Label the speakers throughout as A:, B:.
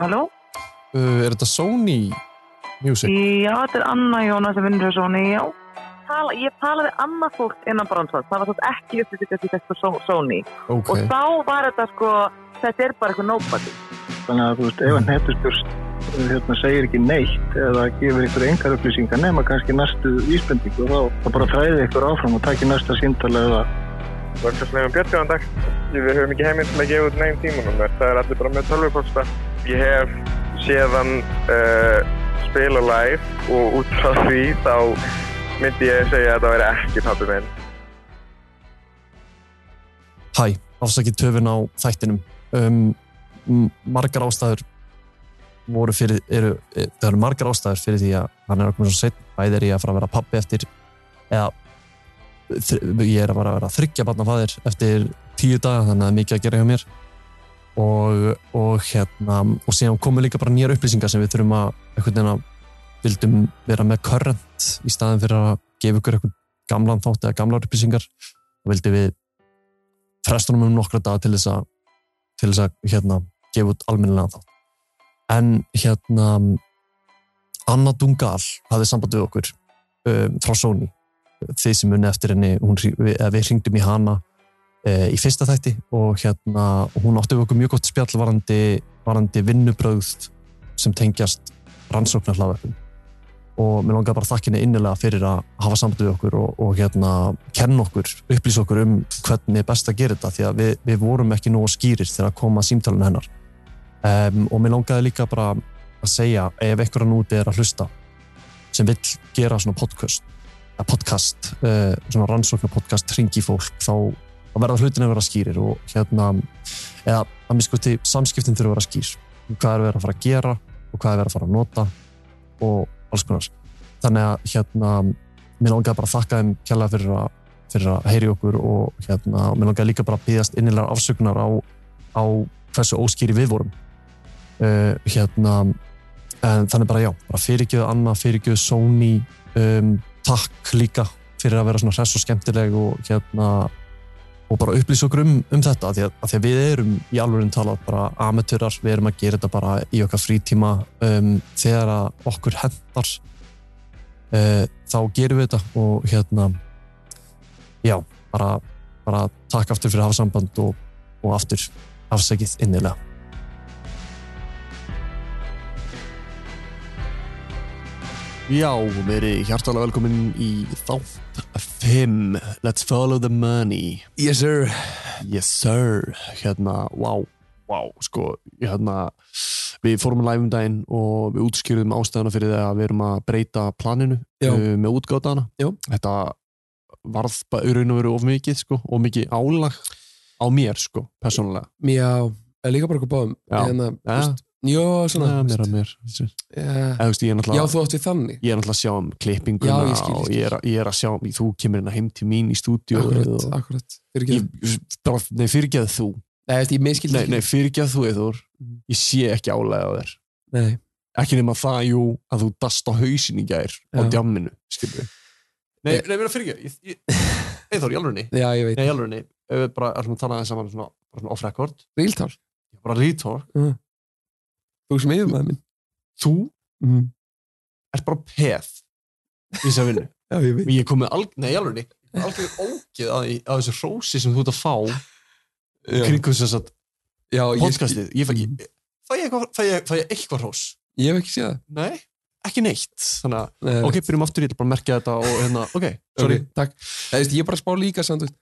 A: Halló?
B: Uh, er þetta Sony Music?
A: Já, þetta er Anna Jóna sem vinnur hjá Sony, já. Tala, ég talaði annað fólk innan Bronsons, það var svo ekki upplýsingast í þetta Só- Sony.
B: Ok.
A: Og þá var þetta sko, þetta er bara eitthvað nobody.
C: Þannig að þú veist, ef að netustjórst hérna, segir ekki neitt eða gefur ykkur engar upplýsingar nema kannski næstu vísbendingu þá, þá bara þræði ykkur áfram og takki næsta síndala eða
D: Vörgarsleifum Björnjóðandag. Við höfum ekki heiminn til að gefa út neginn tímanúmer. Það er allir bara með tölvupósta. Ég hef séðan uh, spila live og út frá því þá myndi ég segja að það væri ekki pappi minn.
B: Hæ, afsakið töfun á þættinum. Um, m- margar ástæður voru fyrir, eru, e, það eru margar ástæður fyrir því að hann er að koma svo seitt. Bæði er ég að fara að vera pappi eftir, eða þr- ég er að fara að vera þryggja barnafaðir eftir tíu daga, þannig að það er mikið að gera hjá mér. Og, og hérna, og síðan komu líka bara nýjar upplýsingar sem við þurfum að, einhvern veginn að vildum vera með current í staðin fyrir að gefa ykkur eitthvað gamlan þátt eða gamlar upplýsingar. Þá vildum við frestunum um nokkra daga til þess að til þess að hérna gefa út almennilega þátt en hérna Anna Dungal hafði samband við okkur um, frá Sony þið sem muni eftir henni hún, hring- við, eða við hringdum í hana e, í fyrsta þætti og hérna hún átti við okkur mjög gott spjall varandi, varandi vinnubröðst sem tengjast rannsóknar hlaðverfum og mér langar bara að þakka henni innilega fyrir að hafa samband við okkur og, og hérna kenna okkur, upplýsa okkur um hvernig er best að gera þetta því að við, við vorum ekki nógu skýrir þegar að koma símtalen hennar um, og mér langaði líka bara að segja ef einhverja núti er að hlusta sem vill gera svona podcast að podcast, uh, svona rannsóknar podcast ringi fólk, þá þá verða hlutin að vera skýrir og hérna eða að mér skuti samskiptin þurfa að vera skýr hvað er verið að fara að gera og hvað er verið að fara að nota og alls konar þannig að hérna mér langaði bara að þakka þeim kjalla fyrir að fyrir að heyri okkur og hérna og mér langaði líka bara að bíðast innilegar afsökunar á, á hversu óskýri við vorum uh, hérna en þannig bara já, bara fyrirgjöðu Anna, fyrirgjöðu Sony um, takk líka fyrir að vera svona hress og skemmtileg og hérna og bara upplýsa okkur um, um þetta af því, að, af því að við erum í alveg talað bara amatörar, við erum að gera þetta bara í okkar frítíma um, þegar að okkur hendar uh, þá gerum við þetta og hérna já, bara, bara takk aftur fyrir að hafa samband og, og aftur afsækið innilega Já, verið hjartalega velkomin í þátt 5 Let's follow the money
E: Yes sir
B: Yes sir, hérna, wow, wow, sko, hérna, við fórum að læfum daginn og við útskýrðum ástæðana fyrir það að við erum að breyta planinu
E: Já.
B: uh, með útgátaðana.
E: Já.
B: Þetta varð bara í raun og veru of mikið, sko, of mikið álag á mér, sko, persónulega.
E: Já, eða líka bara okkur báðum
B: Já. Eh,
E: Hérna,
B: Ja.
E: þú veist, Jó, svona
B: Svona,
E: þú
B: mér
E: veist,
B: að mér. Eða,
E: ja.
B: þú veist, ég er
E: Já,
B: náttúrulega...
E: þú átt við þannig
B: Ég er náttúrulega að sjá um klippinguna
E: Já, ég skil, ég
B: og ég er, að- ég er að sjá um, þú kemur hérna heim til mín í stúdíu
E: Akkurat, akkurat Fyrirgeðu.
B: Ég, bara, nei, fyrirgeð þú
E: Nei, eftir, ég miskildi
B: Nei, nei fyrirgeð þú, Eður Ég sé ekki álega á þér
E: nei
B: ekki nema það, jú, að þú dast á hausin í gær á
E: Já.
B: djamminu, skilur við Nei, nei, mér að fyrir ekki Eithor, í alvörunni
E: Já, ég veit
B: Nei, í alvörunni, ef við bara ætlum að tala aðeins saman svona, bara svona off record,
E: Ríltal
B: bara rítor
E: Þú sem yfir maður minn
B: Þú Mhm.
E: mm.
B: ert bara peð í þessar vinnu
E: Já, ég veit
B: Ég kom með alg, nei, í alvörunni algjör ógeð að, því- að þessu rósi sem þú ert að fá
E: Já,
B: kringum þess að
E: já ég, Mhm.
B: podcastið Ég fæ ég- fæ ég eitthvað, fæ ég, fæ ég eitthvað rós
E: ég hef ekki séð það
B: Nei, ekki neitt Þannig að,
E: Nei,
B: ok, byrjum aftur, ég ætla bara að merkja þetta og hérna, ok, sorry
E: ok, Takk Nei, veist, Ég er bara að spá líka samt þú veist,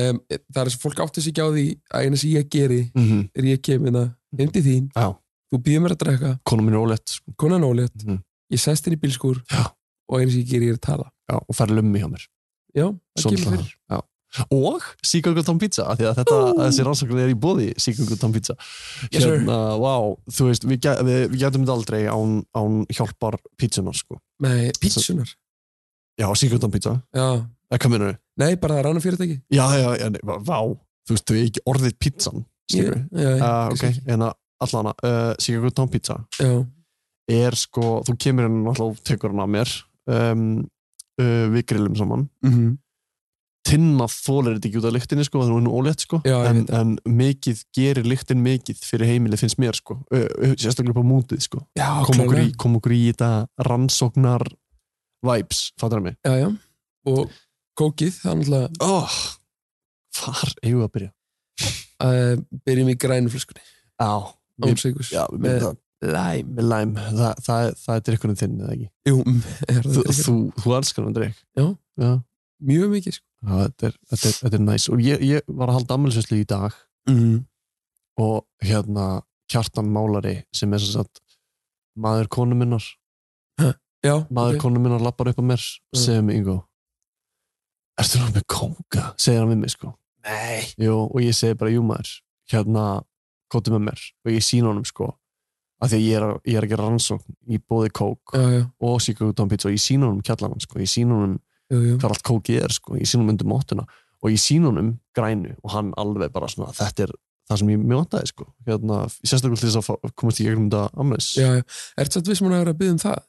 E: um, Það er þess að fólk átti sig ekki á því að eina sem ég geri
B: mm -hmm.
E: er ég kemina heim til þín
B: Já.
E: Þú býður mér að drekka
B: Konum minn er ólétt sko.
E: konan ólétt
B: Mhm.
E: ég sest inn í bílskúr
B: Já.
E: og eins og ég gerir ég er að tala
B: Já, og fær lummi hjá mér
E: já, það
B: Svona
E: kemur
B: það.
E: fyrir
B: Já. og síköngu tón pizza af því að þetta,
E: Ú.
B: þessi rannsókn er í bóði síköngu tón pizza
E: Yes, sir.
B: wow, þú veist, við, gæ- við, við getum þetta aldrei án, án hjálpar pizzunar sko.
E: með pítsunar
B: já, síköngu tón pizza,
E: já.
B: eða hvað minnur
E: nei, bara það er annar fyrirtæki
B: já, já, já, nei, vá, vá, þú veist, þau er ekki orðið pizzan skilur við,
E: já, já,
B: uh, ok, en að allana, uh, síköngu tón pizza
E: já,
B: er sko, þú kemur henni alltaf og tekur hann af mér um, uh, við grillum saman
E: mm -hmm.
B: tinna þólir þetta ekki út af lyktinni sko, það er hún ólétt sko
E: Já, ég
B: en,
E: veit
B: en mikið gerir lyktin mikið fyrir heimilið finnst mér sko, Ö, ö, sérstaklega upp á mútið sko
E: já,
B: kom okkur, í,
E: klárlega.
B: kom okkur í þetta rannsóknar vibes, fattur það mig
E: já, já. og kókið það er náttúrulega
B: oh, hvar eigum við að byrja?
E: að eh, byrjum í grænuflöskunni
B: Já,
E: án
B: við,
E: sigurs
B: já, við
E: Með-
B: myndum það Læm, læm, það, það, það er drikkunum þinn eða ekki
E: Jú, mm, er það
B: Þú,
E: ekki?
B: þú, þú elskar hann drikk
E: Já.
B: Já,
E: mjög mikið sko.
B: Já, þetta er, þetta er, þetta er næs og ég, ég var að halda ammælisveslu í dag Mhm.
E: mm.
B: og hérna Kjartan Málari sem er sem sagt maður konu minnar
E: já,
B: maður
E: ok.
B: konu minnar lappar upp á mér
E: Mm.
B: sem Ingo Ertu nú með kóka? segir hann við mig sko
E: nei,
B: Jú, og ég segi bara, jú maður, hérna, kóttu með mér og ég sína honum sko af því að ég er, að- ég er að gera rannsókn í bóði kók
E: já, já,
B: og síkugután pizza og ég sína honum kjallan sko, ég sína honum
E: já, já.
B: hvað allt kókið er sko, ég sína honum undir móttuna og ég sína honum grænu og hann alveg bara svona, þetta er það sem ég mjög vantaði sko, hérna, sérstaklega til þess að fá- komast í gegnum þetta amnes
E: já, já. ertu satt vissum hún að vera að byggja um það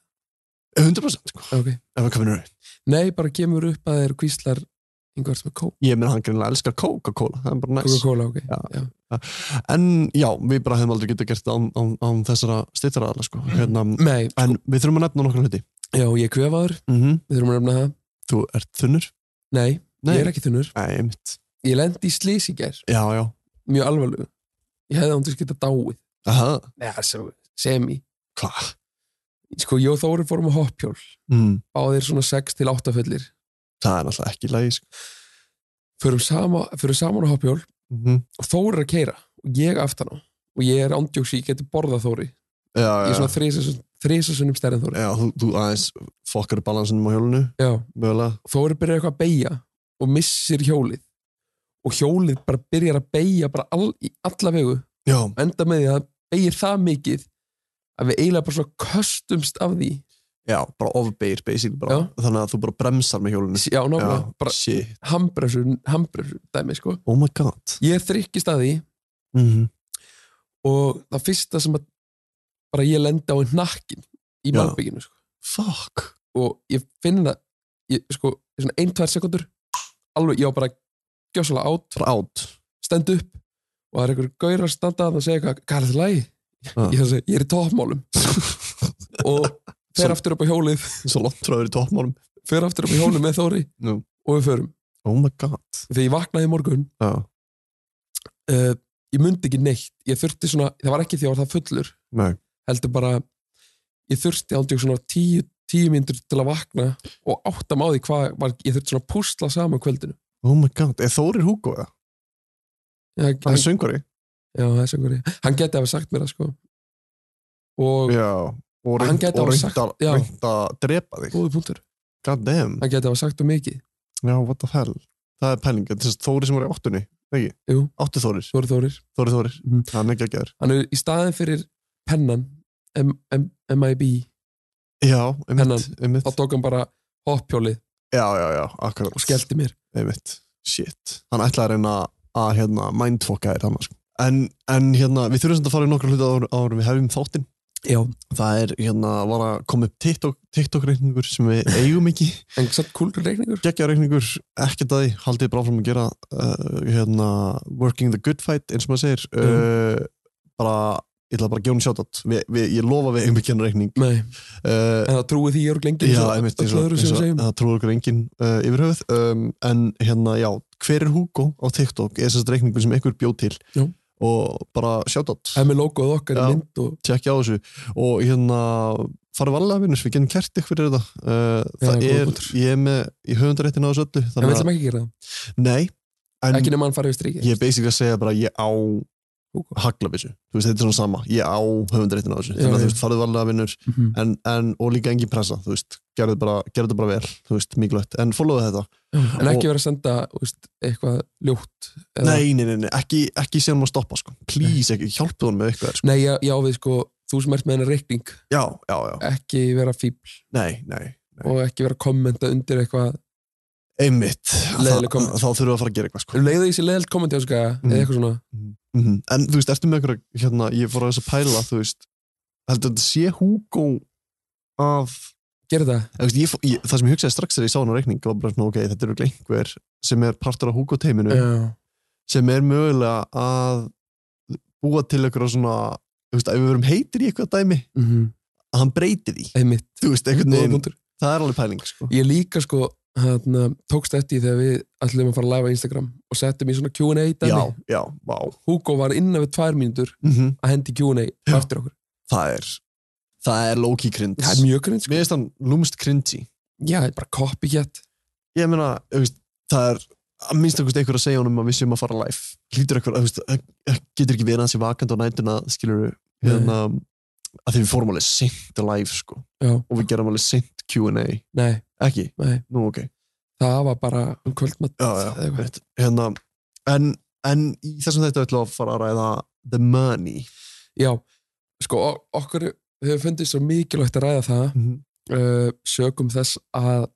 B: 100% sko,
E: ok,
B: ef það kemur nöður
E: nei, bara kemur upp að þeir kvíslar einhvers með kók,
B: ég meina hann greinlega elskar Coca-Cola, það er bara næs
E: Coca-Cola ok,
B: Já. en já, við bara hefum aldrei getað gert án, án, án þessara styrtaraðala sko, hérna,
E: nei,
B: En við þurfum að nefna nokkra hluti.
E: já, ég er kvefaður
B: Mm
E: við þurfum að nefna það,
B: Þú ert þunnur?
E: nei, ég er
B: ekki.
E: ekki þunnur
B: Nei, einmitt.
E: ég lendi í slís í gær,
B: Já, já.
E: mjög alvarlegu ég hefði ándur skita dáið
B: Aha.
E: Nei, svo, semi,
B: Hva?
E: sko, ég og Þóri fórum á hoppjól
B: Mm.
E: báðir svona 6 til 8 fullir
B: Það er náttúrulega ekki lægi, sko.
E: förum, sama, förum saman á hoppjól
B: Mm -hmm.
E: og Þóri er að keira og ég aftan á og ég er ándjóksi, ég geti borðað Þóri ég
B: Já,
E: er
B: já.
E: svona þrisvar- þrisvar sinnum stærri en Þóri
B: Já, þú, þú aðeins fokkar balansinum á hjólunu,
E: Já.
B: mögulega.
E: Þóri byrjar eitthvað að beigja og missir hjólið og hjólið bara byrjar að beigja bara all, í alla vegu og
B: Já.
E: enda með því að það beigir það mikið að við eiginlega bara svona köstumst af því
B: Já, bara ofbeir, basically. Bara.
E: Já.
B: Þannig að þú bara bremsar með hjólunu.
E: já, nákvæmlega,
B: Mm. Já,
E: bara
B: shit.
E: hambresu, hambresu dæmi, sko
B: Oh my god.
E: ég þrykkist að því
B: Mm
E: Mhm. og það fyrsta sem að bara ég lendi á hnakkin í
B: Já.
E: malbygginu sko.
B: Fuck.
E: og ég finn það ég, sko, svona ein, tvær sekundur alveg, ég á bara gjössalega átt
B: Bara átt.
E: stend upp og það er einhver gaur að standa að það segja eitthvað, hvað er það lægi?
B: Ah.
E: Ég, þarf að segja, ég er í toppmálum og fer
B: Svo-
E: aftur upp á hjólið
B: Svo langt frá þér í toppmálum.
E: fer aftur upp á hjólið með Þóri
B: Nú.
E: og við förum,
B: Oh my god.
E: þegar ég vaknaði í morgun
B: Já.
E: uh, ég myndi ekki neitt ég þurfti svona, það var ekki því að ég var það fullur
B: Nei.
E: heldur bara ég þurfti ándjók svona tíu, tíu myndur til að vakna og átta máði hvað var, ég þurfti svona að púsla saman kvöldinu
B: Oh my god. Er Þórir Hugo, eða?
E: já,
B: Hann er
E: hann,
B: söngari.
E: já, það er svo einhverju. hann geti hafa sagt mér það sko og
B: Já, og
E: Hann
B: reynd,
E: gæti
B: og
E: hafa
B: reynd,
E: sagt-
B: að,
E: já.
B: reynd að drepa þig
E: góði punktur,
B: God damn,
E: hann geti hafa sagt um mikið
B: já, what the hell Það er pæling, þetta er Þóri sem var í áttunni ekki?
E: Jú.
B: Áttu Þórir,
E: Þóri Þórir,
B: Þóri Þórir
E: Mhm.
B: Það er ekki að gera
E: hann er í staðin fyrir pennan M M MIB,
B: Já, einmitt,
E: Hennan.
B: einmitt.
E: þá tók hann bara hoppjólið
B: Já, já, já, akkurat
E: og skellti mér
B: Einmitt, shit Hann ætlaði að reyna að hérna, mindfokka þér hann sko. en, en hérna, við þurfum samt að fara í nokkra hluti áður, áður en við hefum þáttinn
E: já.
B: Það er, hérna, var að koma upp TikTok, TikTok reikningur sem við eigum ekki
E: en satt kúlur reikningur
B: geggja reikningur, ekkert að því haldið bara áfram að gera uh, hérna, working the good fight eins og maður segir uh, bara ég ætla bara að gefa hún sjátt vi, vi, ég lofa við einhver genna reikning
E: Nei,
B: uh,
E: en það trúi því ég er lengi
B: já, einmitt, eins og, eins og, það trúður okkur engin uh, yfir höfuð um, en hérna, já, hver er Hugo á TikTok er þessast reikningur sem einhver bjóð til
E: Já.
B: og bara sjátt
E: það er með logoð okkar
B: Já.
E: í mynd og
B: tjekkja á þessu og hérna farið varlega vinnus, við getum kert ykkur fyrir þetta uh, það
E: góður
B: er,
E: punktur.
B: ég er með í höfundaréttin á þessu öllu
E: en við
B: þannig
E: ætlum ekki að gera það,
B: að, nei en-
E: ekki nema hann farið við strikið
B: ég er basically að segja bara ég á haglabissu, þú veist þetta er svona sama ég á höfundaréttin á þessu,
E: Já,
B: þannig að
E: já.
B: þú veist farðu varlega vinnur en, en, og líka engin pressa, þú veist gerðu bara, gerðu þetta bara vel, þú veist, mikilvægt en followðu þetta,
E: en
B: Og-
E: ekki vera að senda þú veist, eitthvað ljótt eða-
B: nei, nei, nei, nei ekki, ekki séum að stoppa, sko, please ekki, hjálpu honum með eitthvað, sko,
E: nei já, já við sko, þú sem ert með hennar reikning
B: já, já, já
E: ekki vera fíbl
B: nei, nei, nei,
E: og ekki vera að kommenta undir eitthvað
B: einmitt þá,
E: Leiðinleg comment.
B: þá þurfum við að fara að gera eitthvað, sko
E: um leiðu því sem leiðilt kommenta eða
B: Mhm.
E: eitthvað svona
B: Mhm. en þú veist, ertu með eitthvað, hérna ég fór að þess að pæla, þú veist heldur þetta sé Hugo af
E: gerði það
B: Þú veist, ég, fó- ég, það sem ég hugsaði strax þegar ég sá hann á reikning var bara svona, ok, þetta eru einhver sem er partur af Hugo teiminu
E: Já.
B: sem er mögulega að búa til einhverja svona þú veist, ef við verum heitir í eitthvað dæmi
E: Mhm.
B: að hann breyti því,
E: einmitt
B: þú veist, einhvern
E: Góða
B: veginn
E: punktur.
B: það er alveg pæling, sko
E: ég líka sko hérna, tókst eftir því þegar við ætlum að fara að live á Instagram og settum í svona
B: já,
E: Q&A dæmi.
B: já, vá
E: Hugo var innan við tvær mínútur
B: mm
E: að hendi Q&A
B: Já.
E: eftir okkur
B: það er það er Loki cringe
E: það er mjög grunn sko.
B: mér finnst hann lúmst cringy
E: já, ég er bara copycat
B: ég meina, þú veist, það er að minnst einhvers einhver að segja honum að við séum að fara live hlýtur einhver, þú veist, það getur ekki verið hans í vakand á nætuna, skilur við hérna, að því við fórum alveg sent live, sko,
E: já,
B: og við gerum alveg sent Q&A,
E: nei,
B: ekki,
E: nei,
B: nú ok
E: það var bara um kvöldmatt
B: já, já, einmitt. hérna en, en í þessum þetta ætlum við að fara að ræða the money
E: já, sko o- okkur hefur fundið svo mikilvægt að ræða það uh, sögum þess að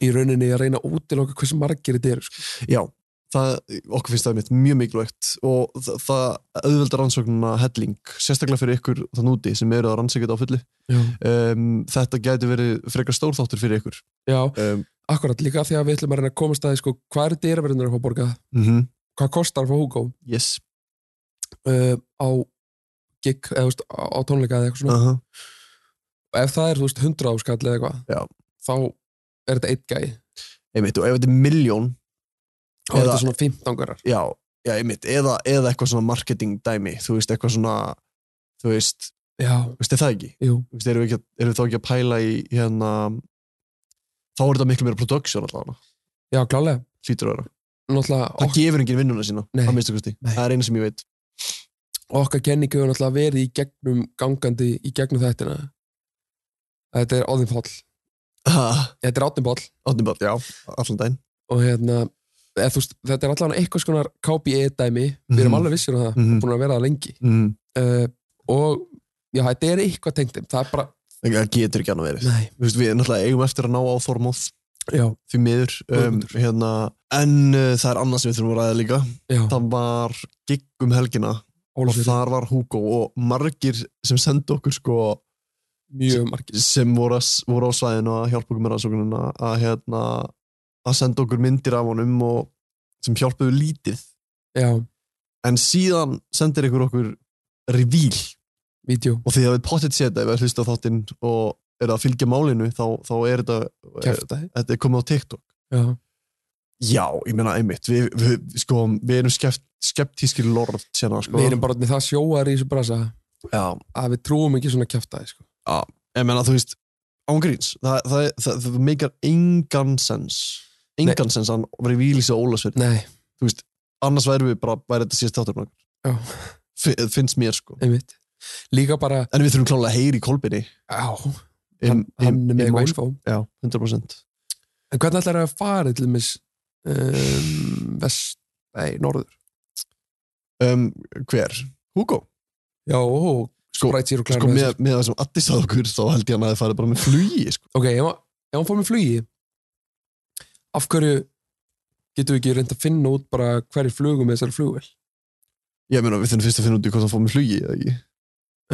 E: í rauninni að reyna að útiloka hversu margir þetta eru sko.
B: já, það, okkur finnst það mitt mjög mikilvægt og það, það auðvelda rannsóknuna helling, sérstaklega fyrir ykkur þann úti sem eru að rannsækja þetta á fullu um, þetta gæti verið frekar stórþáttur fyrir ykkur
E: já,
B: um,
E: akkurat líka því að við ætlum að reyna að komast að því, sko, hvað er dyraverðinur að fá að borga hvað kostar að fá Hugo
B: yes
E: uh, á gig, eða þú veist, á, á tónleika eða eitthvað svona,
B: uh -huh.
E: ef það er þú veist 100 áskall eða eitthvað,
B: Já.
E: þá er þetta eitt gæi,
B: einmitt, og ef þetta er miljón
E: þá er
B: Eða-
E: þetta svona 15 garar
B: já, já, einmitt, eða, eða eitthvað svona marketing dæmi, þú veist, eitthvað svona þú veist,
E: já,
B: þú veist, er það ekki
E: jú,
B: Þú veist, erum við, ekki, að- erum við þá ekki að pæla í hérna þá er þetta miklu meira production allavega,
E: já, klálega
B: hlýtur að vera
E: náttúrulega
B: það
E: ok,
B: gefur enginn vinnuna sína,
E: Nei.
B: að minnstu kosti
E: Nei.
B: það er eina sem ég veit
E: okkar kenningu hefur náttúrulega verið í gegnum gangandi í gegnum þættina þetta er Óðin Páll þetta er Óðin Páll
B: Átnibald, já, allan daginn
E: og hérna eða, þú veist, þetta er allavega eitthvað skonar KBE dæmi, við erum
B: Mhm.
E: alveg vissir um það
B: Mhm.
E: búin að vera það lengi
B: mm.
E: uh, og já, þetta er eitthvað tengt þeim, það er bara
B: það getur ekki annað verið
E: Nei,
B: Þú veist, við náttúrulega eigum eftir að ná á Þormóð
E: já,
B: því miður um,
E: Guðmundur.
B: hérna, en uh, það er annað sem við þurfum að ræða líka
E: já,
B: það var gig um helgina og
E: Ólafsfjörður,
B: þar var Hugo og margir sem sendu okkur sko,
E: mjög margir
B: sem voru, að- voru á svæðinu að hjálpa okkur með rannsóknuna að, hérna, að senda okkur myndir af honum og sem hjálpuðu lítið
E: Já,
B: en síðan sendir ykkur okkur revíl
E: vídeo,
B: og því að við pottet séð þetta ef við hlusta á þáttinn og eru að fylgja málinu þá, þá er þetta,
E: kæftæði
B: þetta er komið á TikTok
E: Já,
B: Já, ég meina einmitt við, við, sko, við erum skept, skeptískir lord sérna, sko.
E: við erum bara orðnir það sjóar í þessu brasa
B: Já,
E: að við trúum ekki svona kæftæði sko.
B: ég meina þú veist ángríns, það, það, það, það meikar engan sens engan sens að hann verið výlísi á Ólasverð
E: Nei,
B: annars væri við bara, væri þetta síðast þáttur
E: Já.
B: F- finnst mér sko
E: einmitt Líka bara,
B: en við þurfum klálega að heyri í kolbinni
E: já, hann, hann er með eitthvað info
B: Já, 100%
E: En hvernig ætlar að fara til þess um, vest, nei, norður
B: um, Hver? Hugo?
E: Já, ó,
B: Sko,
E: Sprite Zero Clara
B: sko með, með það sem Addis að okkur þá held ég hann að það farið bara með flugi sko.
E: Ok, ef, hann- ef hann fór með flugi af hverju getum við ekki reynd að finna út bara hverju flugum með þessari flugvel
B: Ég meina, við þurfum fyrst að finna út í hvað það fór með flugi eða ekki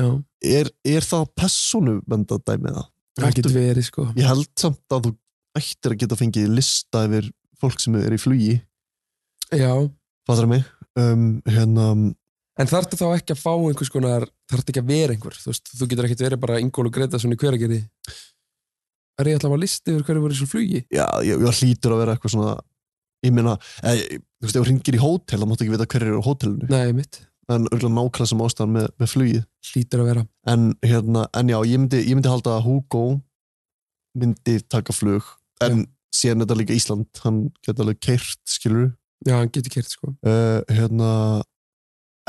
E: Já,
B: er, er það personu vendadæmið það?
E: það getur verið sko
B: Ég held samt að þú ættir að geta fengið lista yfir fólk sem er í flugi,
E: Já,
B: fattar mig um, hérna,
E: En þarftu þá ekki að fá einhvers konar, þarftu ekki að vera einhver, þú veist, þú getur ekkert verið bara Ingólu Gretarsson í hveragerði. Er ég alltaf að listi yfir hverju voru í þessu flugi?
B: já, ég, ég hlýtur að vera eitthvað svona, ég meina eh, þú veist, ef þú hringir í hótel, þá máttu ekki vita hverju eru á hótelinu,
E: Nei, mitt,
B: en örgulega nákvæmlega sem ástæðan með, með flugið,
E: hlýtur að vera.
B: en hérna, en já, ég myndi, ég myndi halda að Hugo myndi taka flug, en síðan þetta líka Ísland, hann geta alveg keirt, skilur
E: Já, hann getur kert, sko.
B: uh, hérna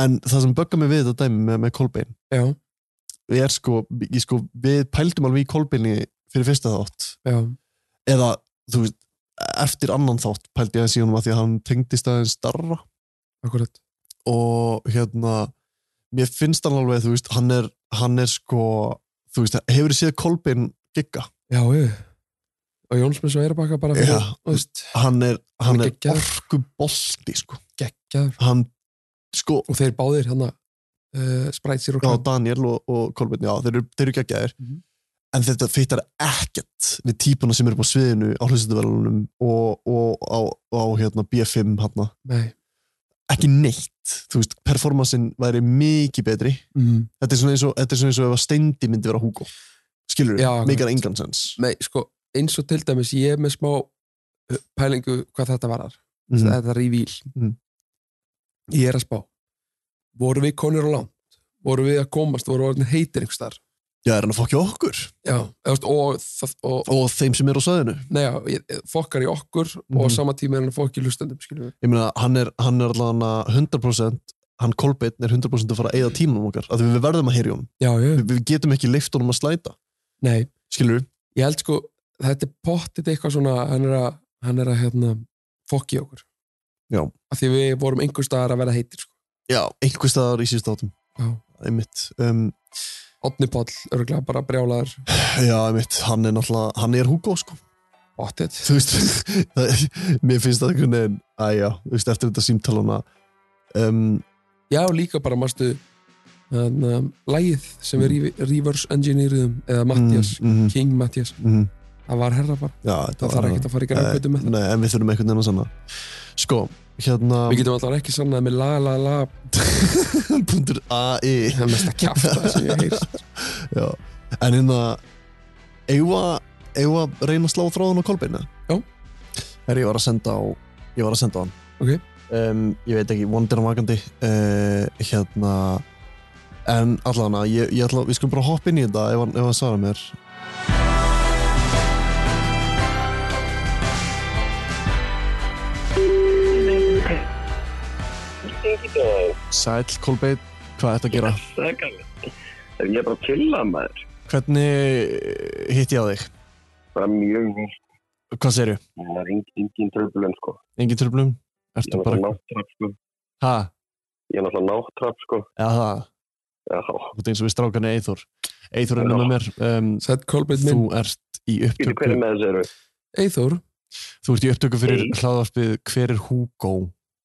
B: en það sem böggar mig við þetta dæmi með, með Kolbein
E: Já,
B: við er sko, ég sko, við pældum alveg í Kolbeini fyrir fyrsta þátt
E: já,
B: eða, þú veist, eftir annan þátt pældi ég aðeins í honum að því að hann tengdist aðeins starra
E: akkurat.
B: og hérna mér finnst hann alveg, þú veist, hann er hann er sko, þú veist, hefur séð Kolbein gigga,
E: Já, ég. Og Jónsmess og Eirabakka bara
B: Já.
E: fyrir, þú veist,
B: hann er hann,
E: Hann er
B: er
E: geggjaður.
B: orkubolti, sko
E: geggjaður.
B: hann, sko,
E: Og þeir hérna, báðir, hann að, uh, Sprite Zero
B: Já,
E: Club.
B: Daniel og, og Kolbeinn, já, þeir eru, þeir eru geggjaðir.
E: Mhm.
B: en þetta fittar ekkert við típuna sem eru upp á sviðinu á hlustenduvelunum og, og á, á hérna, B5 hana.
E: Nei.
B: ekki
E: Hm.
B: neitt þú veist, performansin væri mikið betri
E: Mm.
B: þetta er svona eins og, þetta er svona eins og ef að Steindi myndi vera Hugo skilur við,
E: Já, akkurat.
B: mikið engan sens
E: Nei, sko, eins og til dæmis ég er með smá uh, pælingu hvað þetta varðar mm.
B: Mhm.
E: þetta revíl
B: Mhm.
E: ég er að spá voru við konur á langt voru við að komast, voru orðin heitir einhvers þar
B: já, er hann að fokkja okkur
E: já, eða, veist, og, það, og
B: og þeim sem eru á svæðinu
E: neða, fokkar í okkur og
B: Mhm.
E: á sama tíma er hann að fokka í hlustendum skilur við,
B: ég meina, hann er, hann er allan að 100% hann Kolbeinn er 100% að fara að eigða tímanum okkar af því við verðum að heyri honum,
E: já, já,
B: við, við getum ekki leift honum að slæta,
E: nei
B: skilur við
E: ég held sko, þetta er pottið eitthvað svona, hann er að, hann er að hérna, fokka í okkur
B: Já.
E: af því við vorum einhvers staðar að vera heitir sko.
B: já, einhvers staðar í síðust átum
E: Já.
B: einmitt, um,
E: Otni Páll, örgulega bara brjálaður
B: já, einmitt, hann er náttúrulega hann er Hugo, sko,
E: pottið,
B: þú veist það, mér finnst það einhvern veginn að já, þú veist, eftir þetta símtalana um,
E: já, líka bara marstu þannig um, lægið sem við mm. reverse engineeruðum eða Mattias,
B: mm, mm,
E: King Mattias
B: mm,
E: það var herra bara,
B: já, þetta Eh,
E: það þarf ekkert að fara í grænbötu með það
B: nei, en við þurfum einhvern veginn að sanna sko, hérna
E: við getum alltaf ekki sannað með la la la
B: punktur AI
E: það er mest að kjafta sem ég heyrst
B: Já, en hérna eigum við að- eigum við að reyna að slá þráðan á kolbeina?
E: Já.
B: Herra, ég var að senda á ég var að senda á hann
E: Ok.
B: um, Ég veit ekki, vondir hann vakandi uh, hérna en allavega, ég, ég ætla, við skulum bara hoppa inn í þetta ef hann, ef hann svarar mér Sæll Kolbein, hvað ertu að gera?
D: Ég er bara að chilla maður.
B: Hvernig hitt eh, ég á þig?
D: Bara mjög nýtt.
B: Hvað segirðu?
D: Það er engin, engin tröflun sko.
B: Engin tröflum?
D: Ég
B: Ertu
D: er
B: bara...
D: náttúrulega náttrapp sko.
B: Ha?
D: Ég er náttúrulega náttrapp sko.
B: Já, það.
D: Já,
B: Þú ert eins og við strákan Eithor. Eithor er nú með mér. Um,
E: Sætt Kolbeinn
B: þú
E: minn,
B: ert í
D: býtu hverju
B: upptöku...
D: með þessu eru?
E: Eithor
B: Þú ert í upptöku fyrir
D: Hey.
B: hlaðvarpið Hver er Hugo?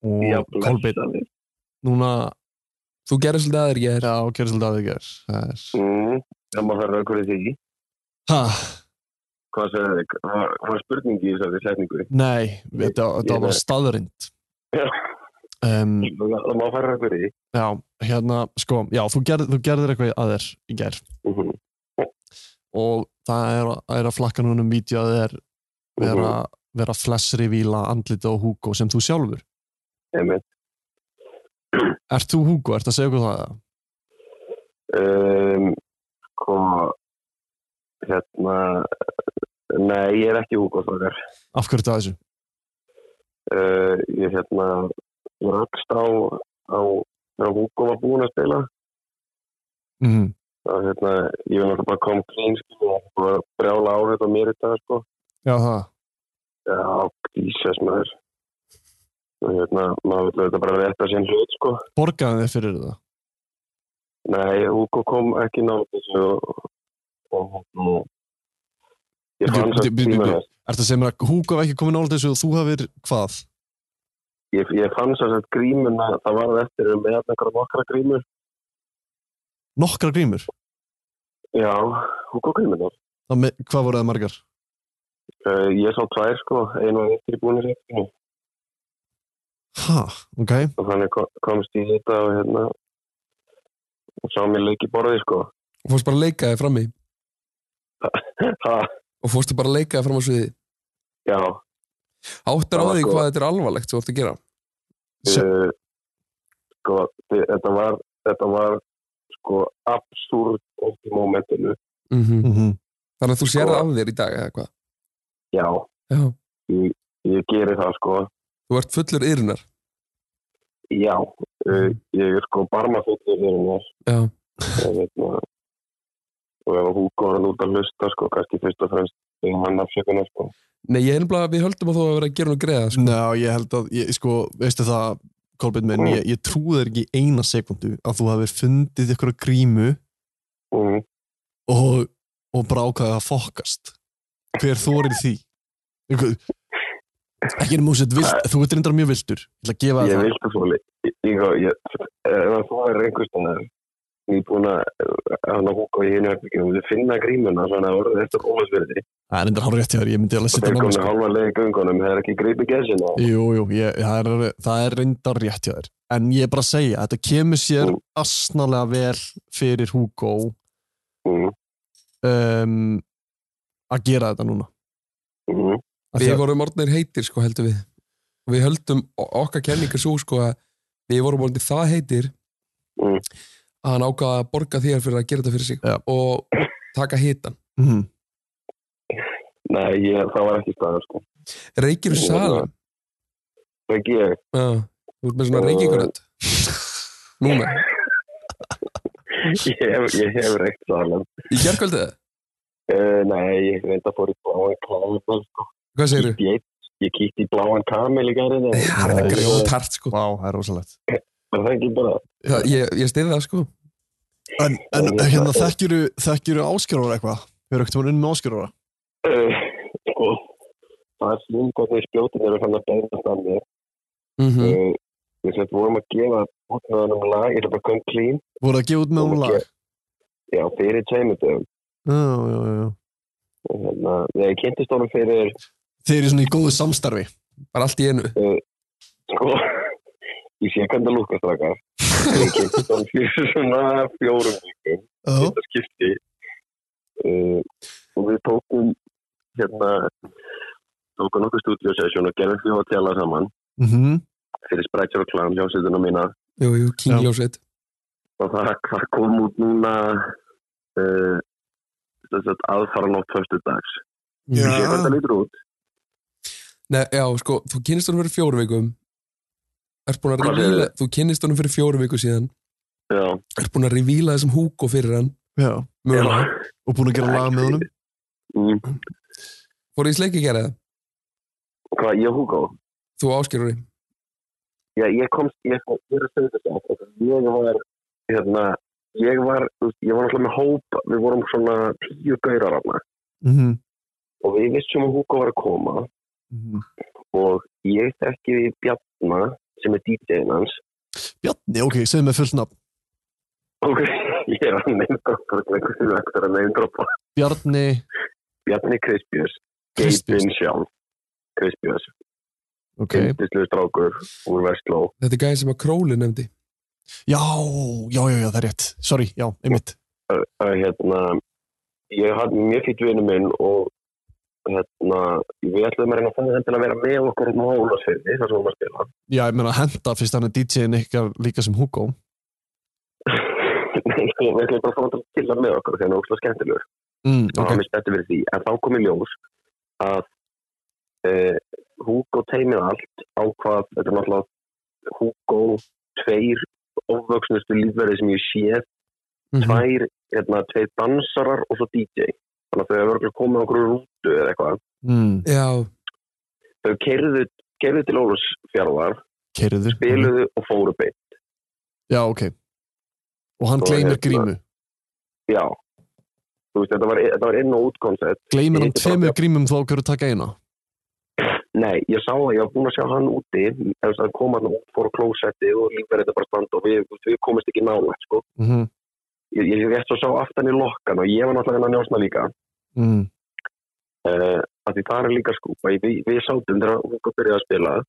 D: Já,
B: Og Kolbeinn,
D: blessaður.
B: núna...
E: þú gerir svolítið aðeir ég er
B: Já, gerði svolítið að þig gerð. Það er...
D: Mm, Það maður fyrir okkur í því.
B: Ha?
D: Hvað segir þig? Var, var spurningi í þessari setningu?
B: Nei, þetta, þetta
D: ég-
B: var staðarind.
D: Já.
B: Um,
D: Það maður fyrir okkur í því.
B: já, hérna, sko, já, þú gerðir, þú gerðir eitthvað að þér í gerð
D: Mhm,
B: og það er, er að flakka núna um vídeo að þér
D: Mhm.
B: vera, vera flessri víla andliti á Hugo sem þú sjálfur.
D: einmitt.
B: Ert þú Hugo? Ert að segja okkur það? eða?
D: Um, Sko, hérna, nei, ég er ekki Hugo Þorgar.
B: Af hverju þetta þessu?
D: uh, ég hérna ég rakst á, á þegar Hugo var búinn að spila
B: Mm -hmm.
D: að hérna, ég vil náttúrulega bara kom clean skil og bara brjála áhrif á mér í dag sko,
B: Já, það.
D: já, Jesus maður og hérna, maður vil þetta bara rétta sinn hlut sko,
B: Borgaði þið fyrir það?
D: nei, Hugo kom ekki nátt þessu og, og, og ég
B: Bíddu,
D: fann
B: bíddu,
D: samt
B: bíddu,
D: tíma
B: bíddu.
D: þess
B: Ert að segja mér að Hugo hef ekki komið nála þessu og þú hafið hvað?
D: ég, ég fann samt að grímuna það varð eftir um með einhverja nokkra grímur
B: Nokkra grímur?
D: já, Hugo grímuna
B: Það Með, hvað voru það margar?
D: uh, ég sá tvær sko, einu og eitt í búinir réttinu
B: Ha, ok.
D: og þannig ko- komst ég í þetta og hérna og sá mér leik í borði sko
E: og fórst bara að leika þig fram í
D: ha,
E: og fórstu bara að leika þig fram á sviði
D: já
E: áttar á
D: Það var
E: því
D: sko-
E: hvað þetta er alvarlegt sem þú ert að gera
B: Se-
D: uh, sko þi- þetta var þetta var sko absúrt oft í mómentinu
E: Mhm.
B: Mm
E: þannig að þú sér
D: Sko-
E: það af þér í dag eða hvað
D: já,
E: já.
D: ég geri það sko
E: þú ert fullur yrunar
D: já, uh, ég er sko barma fyrir mér
E: já,
D: og hérna og ef hún góður út að hlusta sko kannski fyrst og fremst þegar hann afsökunar sko
E: Nei, ég er nefnilega, við höldum að þú hefur verið að gera nú greiða sko.
B: Ná, ég held að, ég, sko, veistu það, Kolbeinn minn, ég, ég trúi þér ekki í eina sekundu að þú hafið fundið ykkur grímu
D: mm,
B: og, og bara ákvaðið að fokast. Hver þorir því? Ykkur, ekki erum úsett vilt, þú ert reyndar mjög viltur. Ég ætla að gefa þér
D: ég
B: það.
D: vildi svo leik ég, ég, ég, ef þú er einhverstana nýbúin að hann að húka í einu herbygginu og þau finna grímuna þannig að orðið eftir óvæðsverði
B: Það er endur hálf rétt hjá þér, ég myndi alveg
D: og
B: setja
D: þeir
B: námi
D: komið
B: sko.
D: hálfa leið í göngunum það er ekki greipi gesina
B: Jú, jú, ég, það, er, það er reyndar rétt hjá þér En ég er bara að segja, þetta kemur sér
D: Mm.
B: asnalega vel fyrir Hugo
D: mm,
B: um, að gera þetta núna
D: mm,
B: Af því
E: Við
B: að-
E: vorum orðnir heitir sko heldur við og við höldum o- okkar kenningar svo sko að við vorum orðnir það heitir
D: Mm.
E: að hann ákvaða að borga þér fyrir að gera þetta fyrir sig
B: Já.
E: og taka hitan
B: Mhm.
D: nei, ég, það var ekki staðar sko.
E: Reykir og
D: Já.
E: salam
D: ekki ég
E: Já, Þú ert með svona reykingurönd Núna,
D: ég hef, ég hef reykt salan
E: í gerkvöldið það?
D: uh, nei, ég reynda að fór í bláan kamel sko.
E: Hvað segirðu?
D: Kíkti í einn- ég kíkti í bláan kamel í gæri
E: Nei, Það er
B: Nei,
E: grjót hart sko
B: Vá, það er rosalegt
D: var það ekki bara
E: það, Ég, ég stið það sko
B: En, en
D: Og-
B: hérna,
D: og-
B: þekkjuru, þekkjuru áskjörur eitthvað? Hefur ekkert hún unni með áskjörur?
D: uh, sko, það er slum hvernig spjótin eru hann að beinast að mér
E: mm
D: mm. við sem vorum að gefa út með honum lag, ég ætla bara að kom clean
B: Voru að gefa út með hún lag?
D: já, fyrir tveimundum
B: Já, já, já.
D: hérna, þegar ég kynntist honum fyrir
B: Þeir eru svona í góðu samstarfi.
E: Bara allt í einu
D: sko, ég sé hvernig að lúka strakar þegar ég kynntist honum fyrir svona fjórum vikum
B: Já.
D: þetta skipti uh, og við tókum hérna tókum nokkuð stúdíosessjón og gerðum því hotela saman
B: Mhm.
D: fyrir Sprite og Clown, hljómsveituna mína
E: Jú, jú, kingljósveit
D: og það, það kom út núna uh, aðfara nótt fyrstu dags ég
E: Já.
B: Mhm.
D: sé hvernig það lítur út
E: Nei, já, sko, þú kynnist honum fyrir fjóru vikum Ert búin að
D: Hvað segirðu?
E: revíla Þú kynnist honum fyrir fjóru viku síðan
D: já,
E: Ert búin að revíla þessum húko fyrir hann
B: Já.
E: Mögulega
B: Og búin að gera lag með honum?
D: Mm,
E: Fór í sleiki gera það?
D: hvað ég húká
E: Þú áskilur því
D: ég, ég komst, ég, ég er að segja þetta að ég var hérna, ég var, þú veist, ég var alltaf með hóp við vorum svona tíu gaurar hana
B: Mhm.
D: og við vissum að húká var að koma
B: Mhm.
D: og ég þekki við Bjarna sem er DJ-in hans
B: Bjarni, ok, segðu mig fullt nafn.
D: og ég er að neymdroppa hvernig vektur að neymdroppa
B: Bjarni,
D: Bjarni Krispjós
B: Chris Björns.
D: Geipin sjálf Krispjós,
B: ok.
D: kynntislu strákur úr Vestló
E: Þetta er gæði sem að Króli nefndi
B: Já, já, já, já, það er rétt. Sorry, já, einmitt.
D: Ö, ö, hérna, ég hafði mjög fýtt vinnu minn og hérna, við ætlum að reyna að fá hann til að vera með okkur um hólasfinni þar sem hún var að spila
B: Já, ég meina henda fyrst hann er DJ-in ykkar líka sem Hugo.
D: Nei, sko, við ætlum bara að fá hann til að spila með okkur þegar hann er óslega skemmtilegur
B: Mm,
D: og hann
B: ok.
D: er spættu fyrir því en þá kom í ljós að uh, Hugo teimið allt ákvað, þetta er náttúrulega Hugo, tveir ofvöksnustu lífverði sem ég séð
E: Mhm.
D: tvær, hérna, tveir dansarar og svo DJ. Þannig að þau hefur örgulega komið á einhverju rútu eða eitthvað.
B: Mm,
E: Já,
D: Þau keirðu, keirðu til Ólafsfjörðar,
B: Keirðu.
D: spiluðu og fóru beint.
B: Já, ok. Og hann
D: Og
B: gleymir
D: hérna-
B: grímu.
D: Já. Þú veist, þetta var, e, þetta var inn og útkonsett.
B: Gleymir hann
D: Hitti bara
B: tveimur grímum þá okkur að taka eina.
D: Nei, ég sá að ég var búin að sjá hann úti, ef það kom hann út, fór á klósetti og lífverði þetta bara standa og við, þú veist, við komist ekki nála, sko.
B: Mhm.
D: Ég, ég rétt svo sá aftan í lokkan og ég var náttúrulega inn að njósna líka.
B: Mm.
D: uh, að því það er líka skúpa við, við sátum þegar hún byrjaði að spila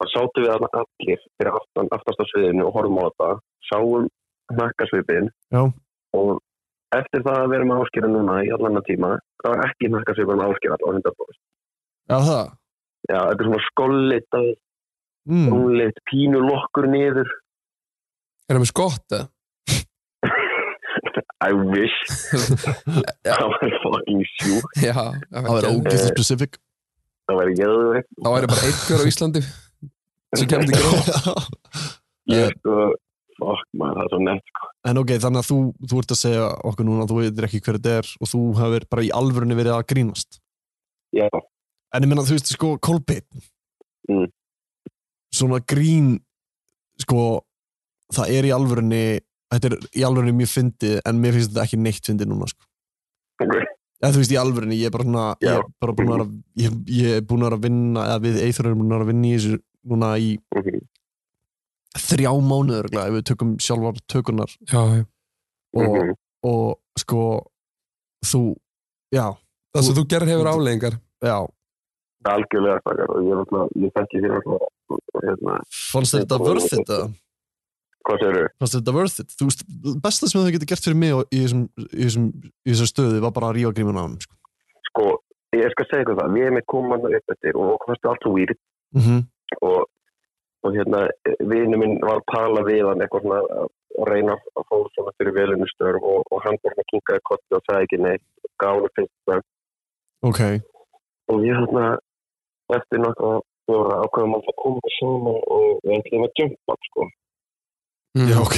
D: þá sátum við þarna allir fyrir aftan, aftast á sviðinu og horfum á þetta sáum nakkasvipin
B: Já.
D: og eftir það að vera með áskýra núna í allan að tíma það var ekki nakkasvipin með áskýra á 100%
B: Já, það.
D: Já, þetta er svona skollit,
B: Mm.
D: skollit, pínu lokkur niður
E: er það með skott eða?
D: I wish það var fucking sjúk
E: Já, það
B: Það verður
E: geðveikt.
B: ógæslega specific
D: það var geðveikt
E: Þá væri bara einhver á Íslandi sem kemur til gróð
D: ég sko, fuck maður, það er svo nett
B: En ok, þannig að þú, þú ert að segja okkur núna að þú veitir ekki hver þetta er og þú hefur bara í alvörunni verið að grínast
D: Já,
B: En ég menna, þú veist, sko, Kolbeinn
D: Mm.
B: Svona grín sko, það er í alvörunni þetta er í alvörunni mjög fyndið en mér finnst þetta ekki neitt fyndið núna sko.
D: ok,
B: eða þú veist, í alvörunni, ég er bara svona ég
D: Já.
B: er bara búin að, vera- ég, ég er búin að vera að vinna eða við eithverjum erum búin að vera að vinna í þessu núna í
D: ok
B: þrjá mánuður ef við tökum sjálfar tökunar
E: Já, já.
B: og,
D: Mhm.
B: og sko þú, já,
E: Það sem þú gerir hefur áleggingar.
B: já
D: Það er algjörlega stakar og ég, er náttúrulega- ég þekki þér alltaf, hérna,
B: fannst þér þetta worth it eða?
D: hvað segir þau?
B: fannst þér þetta worth it þú veist, besta sem þau getur gert fyrir mig og í þessum, í þessum, í þessum stöðu var bara að rífa grímuna á hann sko.
D: Sko, ég skal segja ykkur það, við erum eitt koman upp eftir og okkur fannst allt svo weird
B: mm -hmm.
D: og, og hérna, vinnu minn var að tala við hann eitthvað svona að að reyna að fá svona fyrir velunustörf og, og hann bara kinkaði kotti og sagði ekki neitt og gáði fyrst það
B: ok,
D: og ég hérna eftir nokkað fjóra ákveðum að koma saman og við ætlum að jumpa sko,
E: Mm.
B: já ok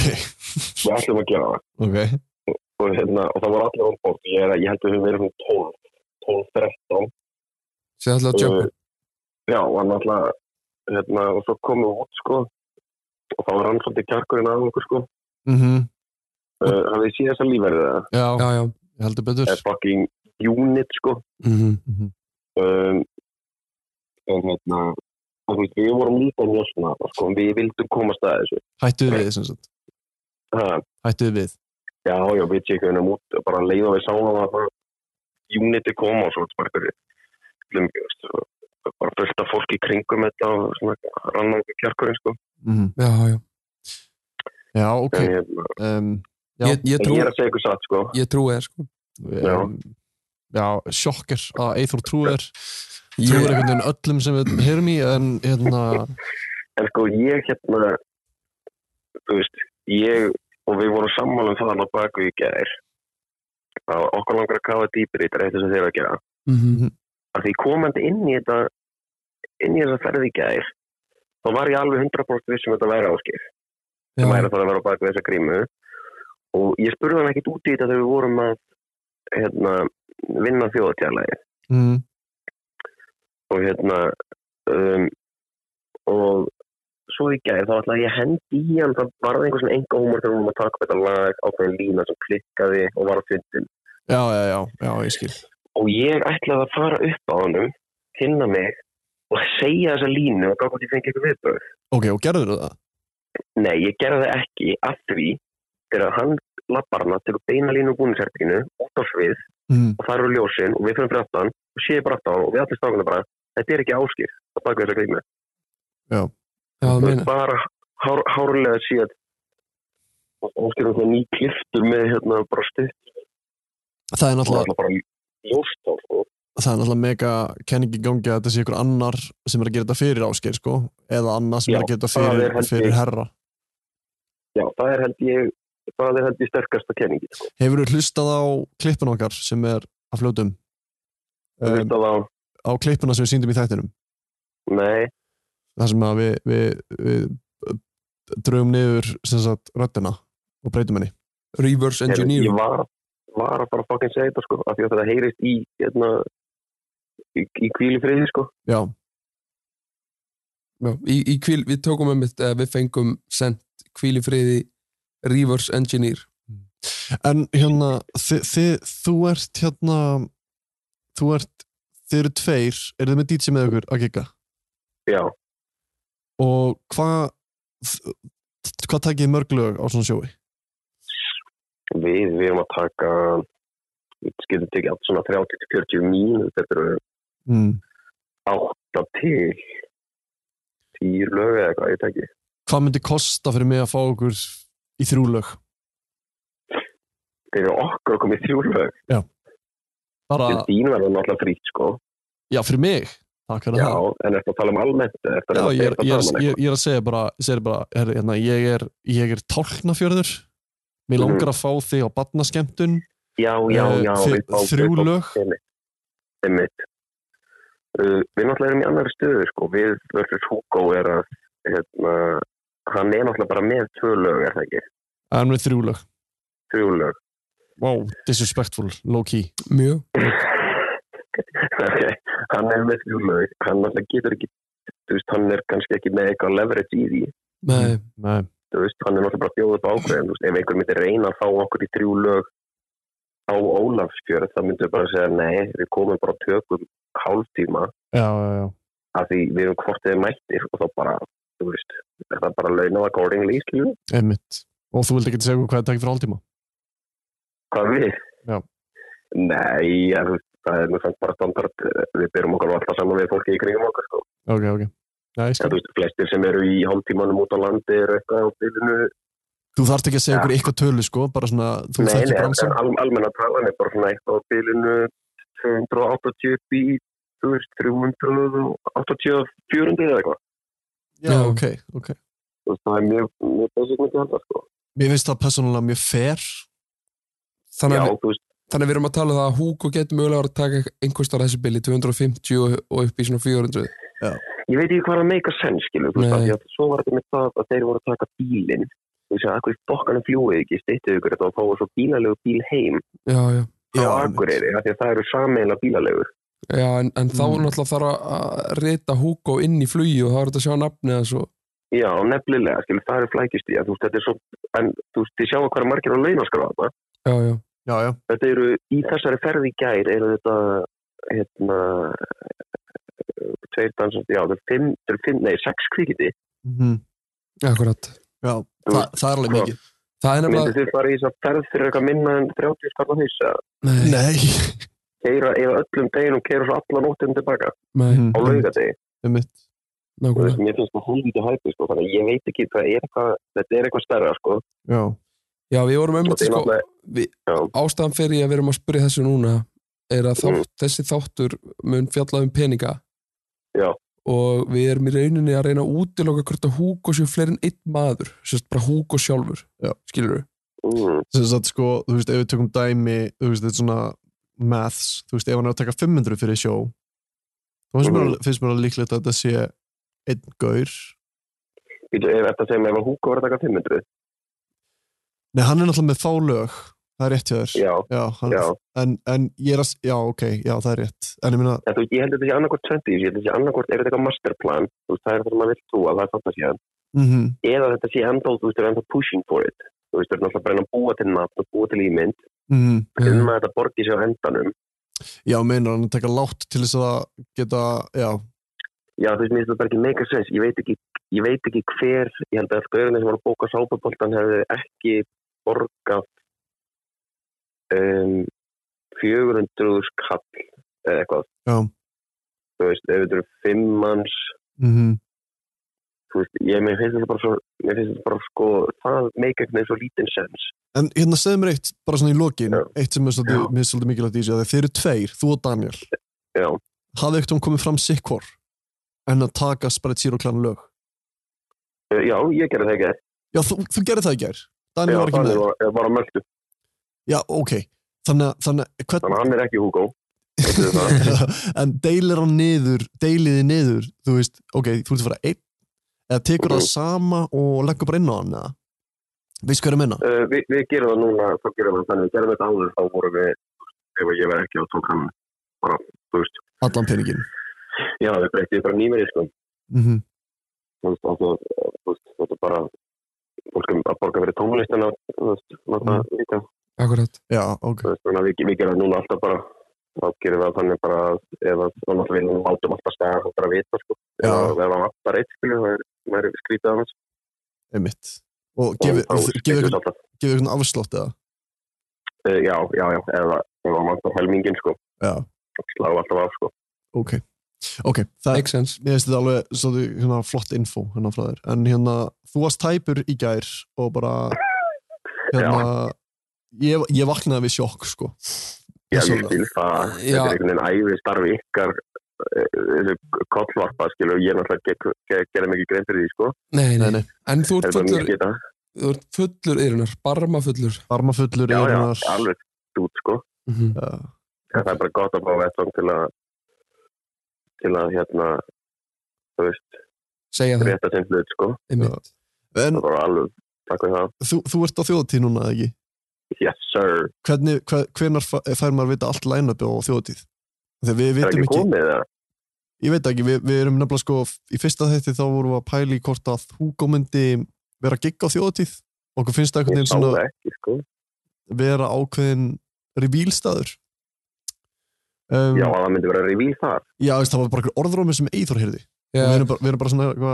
D: við ætlum að gera það
B: ok,
D: og, hérna, og það voru allir án bort ég, er- ég held að við verðum 12 12-13
E: Sér alltaf að jumpa.
D: Eh, já, og hann alltaf hérna, og svo komum við út sko og þá var hann svolítið kjarkurinn að okkur sko
B: mm
D: uh, hann við síðast að lífverðið það
B: já,
E: Já, já.
B: ég heldur betur Mhm.
D: er fucking unit sko
E: Mm
D: um, en hérna og þú veist, við vorum líka njósna sko, en við vildum komast að þessu
B: hættuð við, sem sagt,
D: ha,
B: hættuð við
D: já, já, við tjekkum hennum út og bara leiða við sáum að bara uniti koma og svo þetta bara einhverju- glum, ég veist, bara fullt af fólki kringum þetta og svona rannangu kjarkurinn sko
B: mm
E: Já, já.
B: já, ok
D: en, hérna,
B: um, Já.
E: Ég, ég
D: en
E: trú,
D: ég er að segja ykkur satt sko
E: ég trúi þér, sko.
B: já. já, sjokker að Eithor trúir
E: Ég-
B: trúir einhvern veginn öllum sem við heyrum í en hérna,
D: en sko ég hérna þú veist, ég og við vorum sammála um það hann á baku í gær að okkur langar að kafa dýpir í þetta eftir sem þeir eru að gera
E: Mm
B: Mhm.
D: að því komandi inn í þetta inn í þessa ferð í gær þá var ég alveg 100% vissum um þetta væri áskif
E: Já,
D: sem væri það að vera á baku þessa grímu og ég spurði hann ekkit út í þetta þegar við vorum að hérna, vinna þjóðatjala
B: mm,
D: og hérna um, og svo í gæð þá ætlaði ég að hendi í hann það varði einhver svona enga húmor þegar við vorum að taka upp þetta lag ákveðin lína sem klikkaði og var á fyndin
B: já, já, já, já, ég skil
D: og ég ætlaði að fara upp á honum kynna mig og segja þessa línu og gaf hvort ég fengi eitthvað viðbröð
B: ok, og gerður það?
D: nei, ég gerði það ekki af því þegar hann lappar hana til beina línu búinsertinu út á svið
B: Mm.
D: og það eru ljósin og við fyrir fyrir aftan og séu bara aftan og við allir stákana bara þetta er ekki áskil að baka þessa grímu
E: já, það
D: Þú veist,
E: meina.
D: bara hár, hárlega síðan óskir um ný kliftur með hérna bara stutt
B: það er
D: og
B: náttúrulega
D: alltaf bara ljóst á sko.
B: það er náttúrulega mega kenning í gangi að þetta sé ykkur annar sem er að gera þetta fyrir áskeir sko, eða annar sem
D: Já,
B: er að gera þetta
D: það er
B: fyrir,
D: held ég.
B: fyrir herra
D: Já, það er held ég það er held ég sterkasta kenningi sko.
B: hefur þú hlustað á klippun okkar sem er að fljótum
D: um,
B: um,
D: þetta var,
B: á klippuna sem við síndum í þættinum
D: nei,
B: þar sem að við, við, við draugum niður sem sagt röddina og breytum henni
E: Reverse
D: heyrðu,
E: engineering.
D: ég var, var að bara fucking segja þetta sko, af því að þetta heyrist í hérna í, í kvíli friði sko
B: já,
E: Já, í, í kvíl, við tókum um mitt, við fengum sendt kvíli friði reverse engineer.
B: en hérna þi, þi, þú ert hérna þú ert, þið eru tveir eru þið með DJ með ykkur að gigga
D: já,
B: og hvað hvað takið þið mörg lög á svona sjói?
D: við, við erum að taka við skilum tekið allt svona 30-40 mínútur þetta eru
B: Mm.
D: átta til tíu lög eða eitthvað, ég tekki
B: hvað myndi kosta fyrir mig að fá okkur í þrjú lög?
D: fyrir okkur að koma í þrjú lög
B: bara,
D: til þín verður náttúrulega frýtt sko
B: já fyrir mig takk fyrir
D: já,
B: það
D: en eftir að tala um almennt eftir
B: já,
D: að um
B: ég, er,
D: þetta
B: ég, er,
D: saman
B: ég, ég er að segja bara, segja bara herri, hérna, ég er, ég er tálknafjörður mér
D: Mhm.
B: langar að fá þig á badnaskemtun
D: já, já, já,
B: Eh,
D: við
B: þi-
D: fáum-
B: þrjú
D: við fáum-
B: lög?
D: einmitt, einmitt. Uh, við náttúrulega erum í annari stöðu sko, við verður Hugo er að hérna, hann er náttúrulega bara með tvö lög, er það ekki,
B: en við þrjú lög
D: þrjú lög
B: wow, disrespectful, low key
E: Mjög.
D: Ok, hann er með þrjú lög hann náttúrulega getur ekki þú veist, hann er kannski ekki með eitthvað leverage í því
E: Nei,
B: Nei.
D: þú veist, hann er náttúrulega bara bjóð upp á ákveðin þú veist, ef einhver myndi reyna að fá okkur í þrjú lög á Ólafsfjörð þá myndum við bara segja, nei, við komum bara og tökum hálftíma
B: já, já, já,
D: af því við erum hvort eða mættir og þá bara, þú veist, er það bara launað accordingly, skilju
B: einmitt og þú vildi ekki segja okkur hvað það takið fyrir hálftíma
D: Hvað við?
B: Já.
D: Nei, ja, þú veist, það er nú samt bara standard. eh, Við byrjum okkar nú alltaf saman við fólki í kringum okkar, sko.
B: ok, ok Já, ég
D: Já,
B: skil.
D: þú veist, flestir sem eru í hálftímanum út á landi eru eitthvað á bylunu.
B: Þú þarft ekki að segja
D: Já.
B: okkur eitthvað tölu sko, bara svona, þú
D: Nei,
B: þekkir
D: nei, en
B: bransan
D: al, almenna talan er bara svona eitthvað á bylunu 280 upp í, þú veist, 380 og 400 eða eitthvað.
B: Já, ok, ok
D: Þú veist, það er mjög, mjög basic myndi handla, sko.
B: Mér finnst það persónulega mjög fair
E: Þannig
D: Já,
E: að,
D: þú veist,
E: við- þannig að við erum að tala um það að Hugo getur mögulega að taka einhvers þar þessi bili 250 og, og upp í svona 400
D: ég veit ekki hvað er að make a sense, skilur, þú veist,
E: Nei.
D: af því að svo var þetta með það að þeir voru að taka bílinn. Þú veist, akkur bokkanum fljúið ekki, stýttið ykkur þetta og fáið svo bílalegu bíl heim
E: Já, já,
D: á
B: Já,
D: Akureyri, af því að það eru sameinlega bílalegur.
E: já en, en þá
B: Mm.
E: náttúrulega þarf að- að rita Hugo inn í flugi og þá er þetta að sjá nafnið eða svo
D: Já, nefnilega, skilur, það eru flækist í, þú veist, þetta er svo, en þú veist, þið sjáu hvað er margir á launaskráða þetta.
E: Já, já,
B: já, já,
D: þetta eru í þessari ferði í gær eru þetta hérna tveir dansandi, já, þetta er fimm, þetta er fimm nei, sex kvikindi,
B: Mhm.
E: akkurat
B: já. Þa, það er alveg
D: Sko.
B: mikið
E: Það er
D: myndu
E: nefnilega,
D: þið fara í þess að ferð fyrir eitthvað minna en 30 skallar haus að
E: nei,
B: Nei,
D: keira eða öllum deginum, keira svo alla nóttum tilbaka á
E: nei,
B: Mhm.
D: laugadegi,
B: um mitt
D: þú veist,
E: nákvæmlega
D: mér finnst það hólvítið hæpi, sko, þannig að ég veit ekki það er eitthvað, þetta er eitthvað stærra, sko
B: Já,
E: Já, við vorum
D: og
E: einmitt
D: það er
E: sko,
D: náttúrulega,
E: við,
D: já,
E: ástæðan fyrir að við erum að spyrja þessu núna er að þátt, þessi þáttur mun fjalla um peninga
D: Já.
E: og við erum í rauninni að reyna að útiloka hvort að Hugo séu fleiri en einn maður sérst bara Hugo sjálfur
B: Já.
E: skilur við,
D: mm,
B: sem sagt sko, þú veist, ef við tökum dæmi þú veist, þetta er svona maths þú veist, ef hann er að taka 500 fyrir sjó þá finnst mér,
D: Mhm.
B: finnst mér alveg líklegt að þetta sé einn gaur
D: býtu, ef þetta segir mig ef að húka var að taka 500,
B: Nei, hann er náttúrulega með fálög það er rétt hjá þér
D: já,
B: já, hann,
D: já
B: En, en ég er að, já, ok, já, það er rétt en ég meina,
D: En þú veist, ég held að þetta sé annarkort 20, ég held að þetta sé annarkort, er þetta eitthvað masterplan, þú veist, það er það sem maður vill trúa, það er þarna síðan.
B: mhm,
D: Eða þetta sé ennþá, þú veist, það er ennþá pushing for it. Þú veist, það er náttúrulega bara enn að búa til nafn og búa til ímynd,
B: mhm
E: Mm.
D: um að þetta borgi sig á endanum.
B: já, meinar hann að taka látt til þess að geta, já,
D: Já, þú veist, mér finnst þetta bara ekki make a sense, ég veit ekki, ég veit ekki hver, ég held að gauðinni sem var að bóka sápaboltan hefði ekki borgað um, 400 skall eða eitthvað.
B: Já.
D: Þú veist, ef þetta eru fimm manns,
B: mhm
D: þú veist, ég mér finnst þetta bara svo, mér finnst þetta bara sko, það meikar með svo lítinn sens.
B: En hérna segðu mér eitt, bara svona í lokin,
D: Já.
B: eitt sem er svolítið,
D: Já.
B: mér er svolítið mikilvægt í þessu, að þeir eru tveir, þú og Daniel.
D: Já.
B: Hafði ekkert hún komið fram sikkvor en að taka Sprite Zero Clan lög?
D: Eh, Já, ég gerði það ekki.
B: Já, þú, þú gerði það í gær. Daniel
D: Já,
B: var ekki
D: Daniel
B: með. þér.
D: var, eh, var á möldu,
B: Já, ok. Þannig, að- þannig, að-
D: þannig að
B: hvernig...
D: hann er ekki Hugo. Þetta er það.
B: en deilir hann niður, deiliði niður, þú veist, ok, þú ert að fara einn, eða tekur
D: Mhm.
B: það sama og leggur bara inn á hann, eða? Veist hvað er að menna?
D: Eh, Vi, við gerum það núna, þá gerum við það þannig, við gerum þetta áður, þá vorum við, ef ég var ekki á tók hann, bara, þú veist,
B: Allan peningin.
D: já, við breytið bara nýmeri, sko.
B: Mm -hmm.
D: Þú veist, og þú- þú veist, þetta er bara, fólk er að borga fyrir tónlistina, þú veist, láta
B: Mm.
D: líka.
E: akkurat
B: Já, ok.
D: Þú veist, þannig að við, við gerum það núna alltaf bara þá gerum við það þannig bara að ef að þannig að við látum alltaf stæða og bara vita sko,
B: Já.
D: ef að- ef það vantar eitt skilju það er- það er skrítið annars
B: Einmitt. Og
D: Og
B: gefið
D: þá
B: gefi
D: skiptum við
B: ykkur-
D: alltaf.
B: gefið ykkur afslátt eða?
D: Eh, já, já, já, ef að- ef það vantar helmingin sko,
B: Já.
D: sláum við alltaf af sko
B: ok, ok það,
E: make sense,
B: mér finnst þetta alveg svolítið, hérna, flott info hérna frá þér, en hérna þú varst tæpur í gær og bara hérna ég, ég vaknaði við sjokk sko
D: já, ég
B: Persónulega.
D: skil það,
E: Já.
D: þetta er einhvern veginn æfi starfi ykkar eh, þessu kollvarpa skilju, ég náttúrulega ge- ge- gerði mikið grein fyrir því sko,
E: nei, nei,
B: Nei, nei.
E: en þú ert
D: ef það
E: fullur
D: mér geta
E: þú ert fullur yrunar, barma fullur
B: armafullur
D: já, já,
B: yfirinnar.
D: alveg stút sko
E: mhm,
B: uh,
D: en það er bara gott að fá vettvang til að til að hérna þú veist,
E: segja það,
D: rétta sinn hlut sko
E: einmitt
D: það
B: en
D: var alveg, takk fyrir það
B: þú, þú ert á þjóðatíð núna eða ekki
D: yes sir,
B: hvernig, hver, hvenar fær maður að vita allt lænabið á þjóðatíð þegar við
D: það er
B: vitum
D: ekki
B: ekki,
D: komið það
B: ég veit ekki, við, við erum nefnilega sko, í fyrsta þætti þá vorum við að pæli hvort að Hugo myndi vera gigg á þjóðatíð, okkur finnst það einhvern
D: ég
B: veginn
D: sá
B: svona
D: það ekki sko
B: vera ákveðin revílstaður um,
D: já, að það myndi vera revíl þar
B: já veist, það var bara einhver orðrómi sem Eithor heyrði
E: Já.
B: og við erum bara, við erum bara svona hva,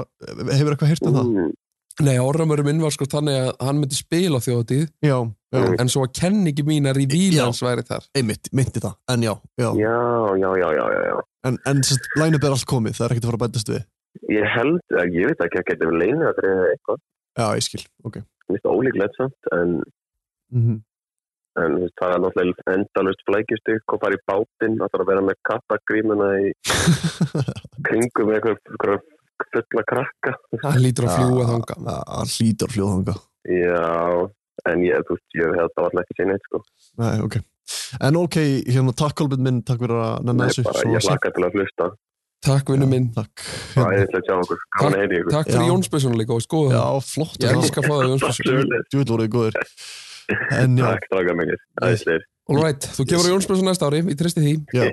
B: hefur eitthvað heyrt um það?
D: Mm,
E: um Nei, orðramörum minn var sko þannig að hann myndi spila á þjóðatíð
B: já, Já.
E: en svo að kenningi mínar í Vílans væri þar
B: einmitt, myndi það, en já, já.
D: Já, já, já, já, já, já.
B: en, en sérst, line-up er allt komið, það er ekkert að fara að bætast við
D: Ég held, eh, ég veit ekki að geta við leinu að reyða eitthvað.
B: já, ég skil, ok
D: Mér finnst það ólíklegt samt, en,
B: mm
E: Mhm.
B: -hmm.
D: en þú veist, það er náttúrulega endalust flækistykk og fara í bátinn, það þarf að vera með kattagrímuna í kringum með eitthvað fulla krakka.
E: hann lítur að fljúa þanga
B: það hlýtur að fljóða þanga
D: Já, en ég, þú veist, ég hef þetta alltaf ekki séð neitt, sko.
B: Nei, ok. En ok, hérna, takk Kolbjörn minn, takk fyrir að nefna
D: Nei,
B: þessu.
D: bara,
B: Svo
D: ég
B: sagt.
D: hlakka til að hlusta.
E: takk vinnu minn,
B: Takk.
D: Það er
B: Hérna,
D: eitthvað að sjá okkur. Gáðan að heyri ykkur.
E: takk fyrir
B: Já.
E: Jónsbjörnsson líka og skoða
B: já,
E: það,
B: flott.
E: ég elska að fá það Jónsbjörnsson
D: Sömuleiðis.
B: Djúvill voruð þið góðir. En já,
D: Takk, takk að mingir. Æsleir.
E: all right, þú gefur á Jónsbjörnsson næsta ári ég treysti því,
B: Já.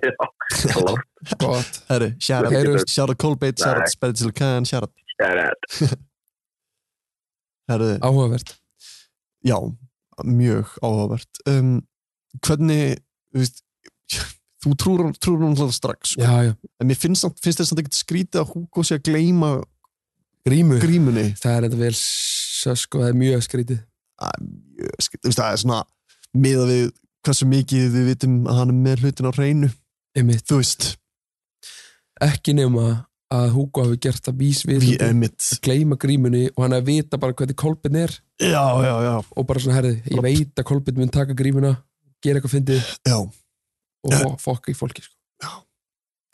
D: Já, klart.
E: gott
B: herri, sjárat,
E: Heyrumst.
B: sjárat Kolbjörn, sjárat
D: Nei.
B: Spensil Kahn, sjárat.
D: Það er
B: Herri,
E: áhugavert
B: já, mjög áhugavert. Um, hvernig, þú veist, þú trúur trúir hún alltaf strax. sko.
E: já, já.
B: En mér finnst, samt- finnst þér samt ekkert skrítið að Hugo sé að gleyma
E: grímur
B: grímunni.
E: það er þetta vel s- sko, það er mjög skrítið
B: Ég skil- þú veist, það er svona, miða við hversu mikið við vitum að hann er með hlutin á hreinu.
E: einmitt.
B: þú veist,
E: ekki nema að Hugo hafi gert það vísvið
B: við emitt
E: gleyma grímunni og hann að vita bara hvernig kolbin er
B: já, já, já,
E: og bara svona herði, ég
B: Bara-
E: veit að kolbin mun taka grímuna gera eitthvað fyndið
B: já,
E: og fo- fokka í fólki sko.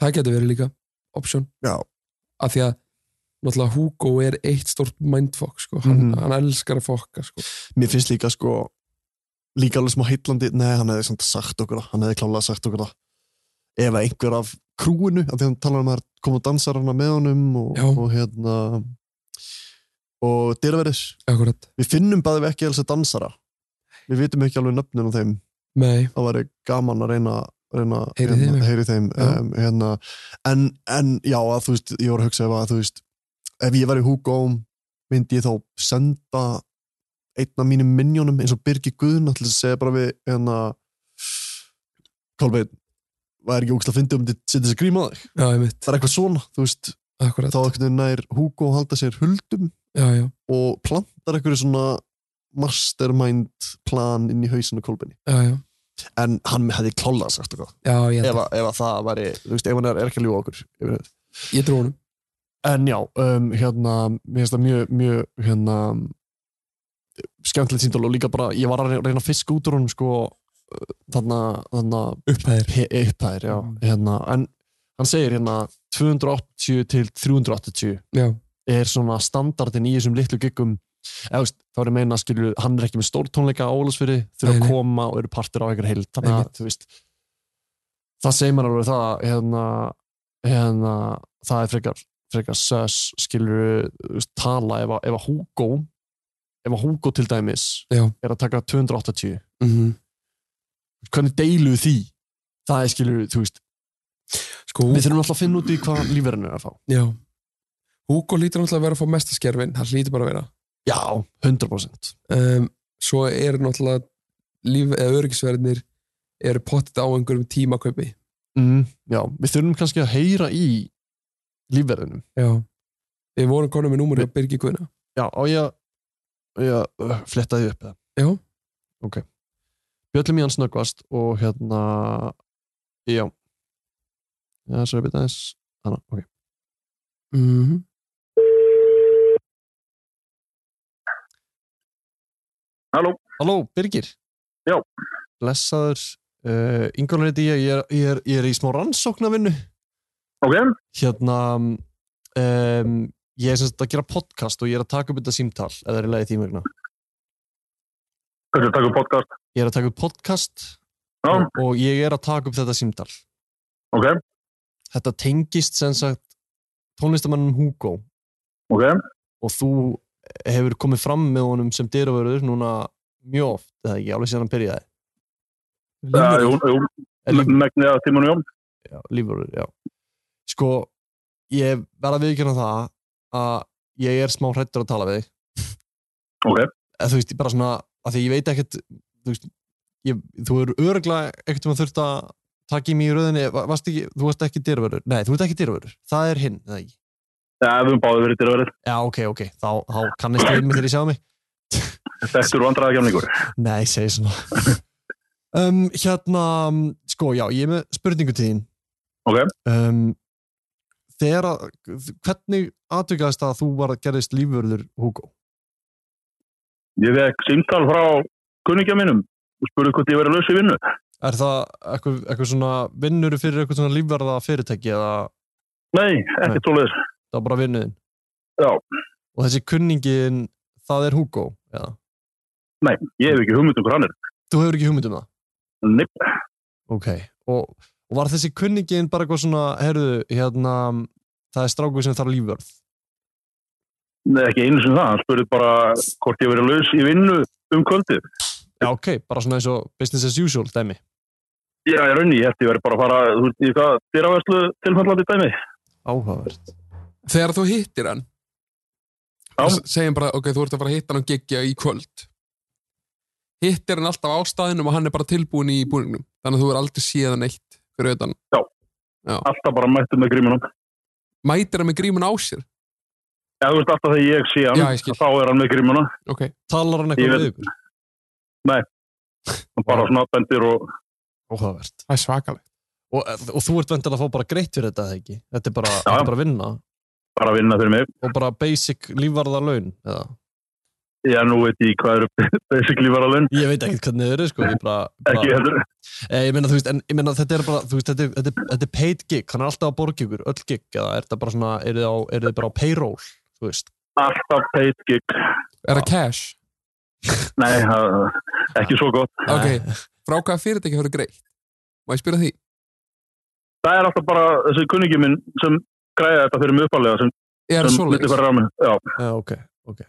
E: það getur verið líka option
B: Já.
E: af því að náttúrulega Hugo er eitt stort mindfokk sko. hann,
B: Mhm.
E: hann elskar að fokka sko.
B: mér finnst líka sko líka alveg smá heitlandi, nei, hann hefði samt sagt okkur það, hann hefði klálega sagt okkur það ef að einhver af krúinu af því hann talar um að koma og dansar hana með honum og,
E: Já.
B: og hérna og dyrverðis
E: akkurat,
B: við finnum bæði við ekki alls að dansara við vitum ekki alveg nöfnin á þeim
E: nei,
B: það væri gaman að reyna, reyna
E: Heyri
B: hérna,
E: þig.
B: heyri þeim
E: Já.
B: um, hérna, en, en já, að þú veist ég voru að hugsa ef að þú veist ef ég væri Hugo myndi ég þá senda einn af mínum minjónum eins og Birgi Guðn til að segja bara við hérna Kolbeinn væri ekki ógst að fyndi um til setja þess að gríma á þig
E: já, ég mitt
B: það er eitthvað svona, þú veist
E: akkurat,
B: þá einhvern veginn nær Hugo að halda sér huldum
E: já, já,
B: og plantar einhverju svona mastermind plan inn í hausinu Kolbeinni
E: já, já
B: en hann hefði klálega sagt eitthvað
E: já, ég,
B: ef,
E: held
B: að- ef að það væri, þú veist, ef hann er, er ekki að ljúa okkur yfir höfuð.
E: það. ég trú honum
B: en já, um, hérna mér finnst það mjög, mjög hérna, skemmtilegt síndal og líka bara, ég var að reyna- reyna að fiska út úr honum sko, uh, þarna, þarna
E: upphæðir,
B: pe- upphæðir, já,
E: Mm.
B: hérna en hann segir hérna 280 til 380
E: já,
B: er svona standardin í þessum litlu giggum eða þú veist, þá er ég að meina skilur hann er ekki með stór tónleika á Ólasfyrir þurfa
E: Nei,
B: að
E: nei.
B: koma og eru partur á einhver heild þannig að
E: Einmitt.
B: þú veist það segir maður alveg það hérna, hérna, það er frekar frekar sös skilur veist, tala ef að, ef að Hugo ef að Hugo til dæmis
E: Já.
B: er að taka 280
E: mhm
B: hvernig deilu því það er skilur þú veist
E: Sko,
B: við þurfum alltaf að finna út í hvað lífverðinu er að fá
E: já Hugo lítur náttúrulega að vera að fá mestaskerfin það lítur bara að vera
B: já, 100%
E: um, svo er náttúrulega líf eða öryggisverðinir eru pottit á einhverjum tímakaupi
B: mm, já, við þurfum kannski að heyra í lífverðinu
E: já við vorum konum með númur á Birgi Guðna
B: Já, á ég að- á ég að uh, fletta því upp eða?
E: Já.
B: Ok. Bjöllum í hann snöggvast og hérna, já. Já, svo er byrjað aðeins. Þannig, ok.
E: mm -hmm.
B: Halló, Birgir.
D: Já.
B: Blessaður. Uh, Ingólfur heiti ég, ég er, ég, er, ég er í smá rannsóknarvinnu.
D: Ok,
B: Hérna, um, ég er sem sagt að gera podcast og ég er að taka upp þetta símtal, eða er í lagi þín vegna.
D: hvað er að taka podcast?
B: Ég er að taka upp podcast
D: Já,
B: og, og ég er að taka upp þetta símtal.
D: ok,
B: þetta tengist sem sagt tónlistamannum Hugo
D: ok.
B: og þú hefur komið fram með honum sem dyravörður núna mjög oft, eða ekki, alveg síðan hann byrjaði
D: Já, jú, jú,
B: Er líf-
D: Eh, megnið að tímanum, já.
B: já, lífvörður, já sko, ég verð að viðkjöna það að ég er smá hrættur að tala við þig
D: Ok.
B: eða þú veist, ég bara svona, að því ég veit ekkert þú veist, ég, þú eru öruglega ekkert um að þurft að taka í mig í röðinni, Va- varst ekki, þú varst ekki dyravörður nei, þú ert ekki dyravörður, það er hinn, eða ekki
D: Eh, Já, við höfum báðið verið til að verið.
B: Já, ok, ok, þá, þá kannist ég við mig þegar ég sjá mig
D: Þetta eru vandræða kjáningur.
B: Nei, ég segi svona um, Hérna, um, sko, já, ég er með spurningu til þín
D: Ok.
B: um, Þegar að, hvernig atvikaðist að þú var að gerðist lífvörður Hugo?
D: Ég vekk símtal frá kunningja minnum og spurði hvort ég verið laus í vinnu.
B: Er það eitthvað, eitthvað svona vinnuru fyrir eitthvað svona lífverða fyrirtæki eða
D: Nei,
B: Nei.
D: ekkert tóluður.
B: það var bara vinnuðin?
D: Já.
B: Og þessi kunningin, það er Hugo, eða?
D: Nei, ég hef ekki hugmynd um hvað hann er.
B: Þú hefur ekki hugmynd um það?
D: Nei,
B: Ok, og, og var þessi kunningin bara eitthvað svona, heyrðu, hérna, það er strákuð sem þarf lífvörð?
D: nei, ekki einu sem það. Hann spurði bara hvort ég verið laus í vinnu um kvöldið.
B: Já, ok, bara svona eins og business as usual, dæmi.
D: Já, ég raunni, ég ætti verið bara að fara, þú veist, í hvað, dýraverslu tilfællandi dæmi.
B: Áhugavert.
E: Þegar þú hittir hann
D: Já.
E: s- segjum bara, ok, þú ert að fara að hitta hann og gegja í kvöld hittir hann alltaf á staðinum og hann er bara tilbúin í búningnum þannig að þú er aldrei séð hann eitt fyrir utan,
D: Alltaf bara mættu með grímunum.
E: mætir hann með grímun á sér
D: Já, þú veist, alltaf þegar ég sé hann,
E: Já, ég skil.
D: þá er hann með grímuna.
E: ok,
B: Talar hann
D: Ég
B: eitthvað
D: veit-
B: við ykkur?
D: Hann bara svona bendir og
B: Áhugavert.
E: það er svakalegt
B: Og, og þú ert vendil að fá bara greitt fyrir þetta, eða ekki? Þetta er bara, þetta er bara vinna
D: bara vinna fyrir mig.
B: og bara basic lífvarða laun, eða?
D: Já, nú veit ég hvað eru basically var að lunn.
B: Ég veit ekkert hvernig þau eru, sko, ég bara... bara
D: Ekki heldur.
B: Eh, Ég meina, þú veist, en ég meina, þetta er bara, þú veist, þetta er, þetta er, þetta er paid gig, hann er alltaf að borga ykkur, öll gig, eða er þetta bara svona, eru þið, á, eru þið bara á payroll, þú veist?
D: Alltaf paid gig.
E: er það cash,
D: Nei, það- ekki svo gott.
E: ok, frá hvaða fyrirtæki hefur greitt má ég spyrja því,
D: Það er alltaf bara þessi kunningi minn sem græði þetta fyrir mig uppalega sem,
E: er það
D: sem myndi
E: svoleiðis
D: fara rámi. Já,
B: Já, ok, ok,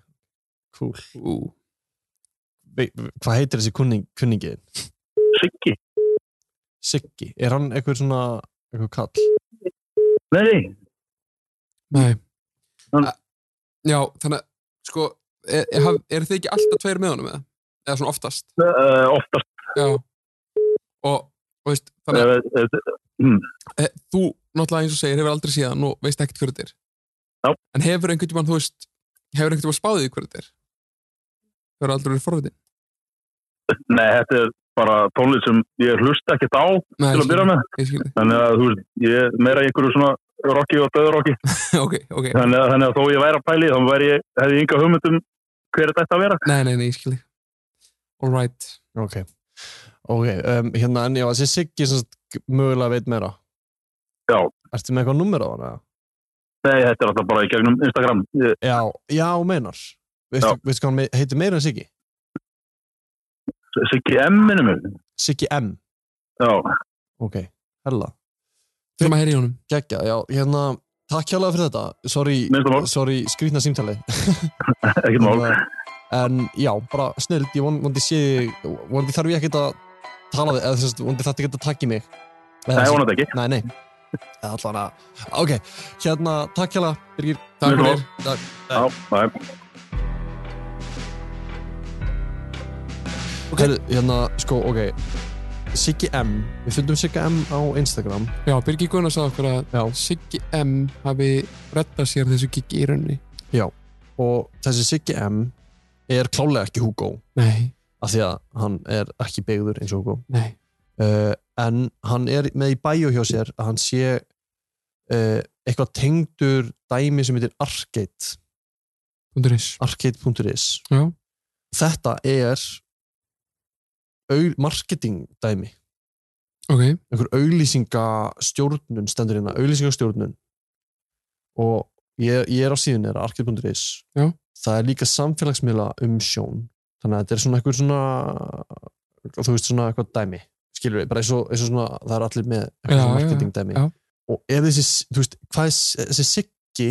B: cool.
E: Ú,
B: Ve- Hvað heitir þessi kunning, kunningin?
D: Siggi.
B: Siggi, er hann eitthvað svona, eitthvað kall?
D: Nei, nei,
E: nei
D: Hann-
E: A- já, þannig að sko, er, er, haf- eru þið ekki alltaf tveir með honum eða, eða svona oftast
D: uh, oftast.
E: já og, og veist, þannig að
D: Uh, uh,
E: e, þú náttúrulega eins og segir hefur aldrei séð hann og veist ekkert hverju þetta
D: Já.
E: er en hefur einhvern tímann þú veist hefur einhvern tímann spáðið í hverju þetta er hefur aldrei verið forvitin
D: nei, þetta er bara tónlist sem ég hlusta ekkert á
E: Nei,
D: til að byrja með.
E: ég skilji,
D: Þannig að þú veist, ég er meira í einhverju svona rocki og döðurocki.
E: ok, ok
D: Þannig, að- þannig að þó ég væri að pæli, þá væri ég, hefði ég ynga hugmyndum hver þetta ætti að vera.
E: nei, nei, nei, ég skilji alright,
B: Ok, ok, um, hérna en já, þessi Siggi sem sagt, mögulega veit meira.
D: Já.
B: Ertu með eitthvað nummer á hann eða?
D: Nei, þetta er alltaf bara í gegnum Instagram. Ég,
B: Já, já, meinar. Veistu, veistu hvað hann me- heitir meira en Siggi?
D: Siggi M minnum mig.
B: Siggi M,
D: Já,
B: ok, hella.
E: þurfum að heyra í honum
B: Gekja, já, hérna, takk hjálpa fyrir þetta. Sorry,
D: minnst það mál,
B: sorry, skrýtna símtali.
D: ekkert mál.
B: En já, bara snild, ég von- vondi sé þig, vondi þarf ég ekkert að tala við, eða þú veist, vondi þetta ekkert að takki mig. Eða
D: Nei,
B: sem-
D: vonandi ekki.
B: Nei, nei. Eða allan að... Ok, hérna, takk hérna, Birgir.
E: takk
D: Mjög
E: fyrir,
B: Takk.
D: Já, næ.
B: Okay. hérna, sko, ok. Siggi M. Við fundum Siggi M á Instagram.
E: já, Birgir Gunnar sagði okkur að
B: Já.
E: Siggi M hafi rettað sér þessu gigi í rauninni
B: Og þessi Siggi M er klálega ekki Hugo,
E: nei,
B: af því að hann er ekki byggður eins og Hugo.
E: nei,
B: Uh, en hann er með í bæjó hjá sér að hann sé uh, eitthvað tengdur dæmi sem heitir Arcade.
E: hundur eins
B: arcade.is
E: Já.
B: þetta er au, marketing dæmi
E: ok,
B: einhver auglýsingastjórnun stendur hérna, auglýsingastjórnun og ég, ég er á síðun er arcade.is
E: Já.
B: það er líka samfélagsmiðla um sjón þannig að þetta er svona eitthvað svona þú veist svona eitthvað dæmi skilur við, bara eins og, eins og svona það er allir með eitthvað
E: Já,
B: svona
E: já,
B: marketing dæmi
E: já.
B: og ef þessi, þú veist, hvað er s- þessi Siggi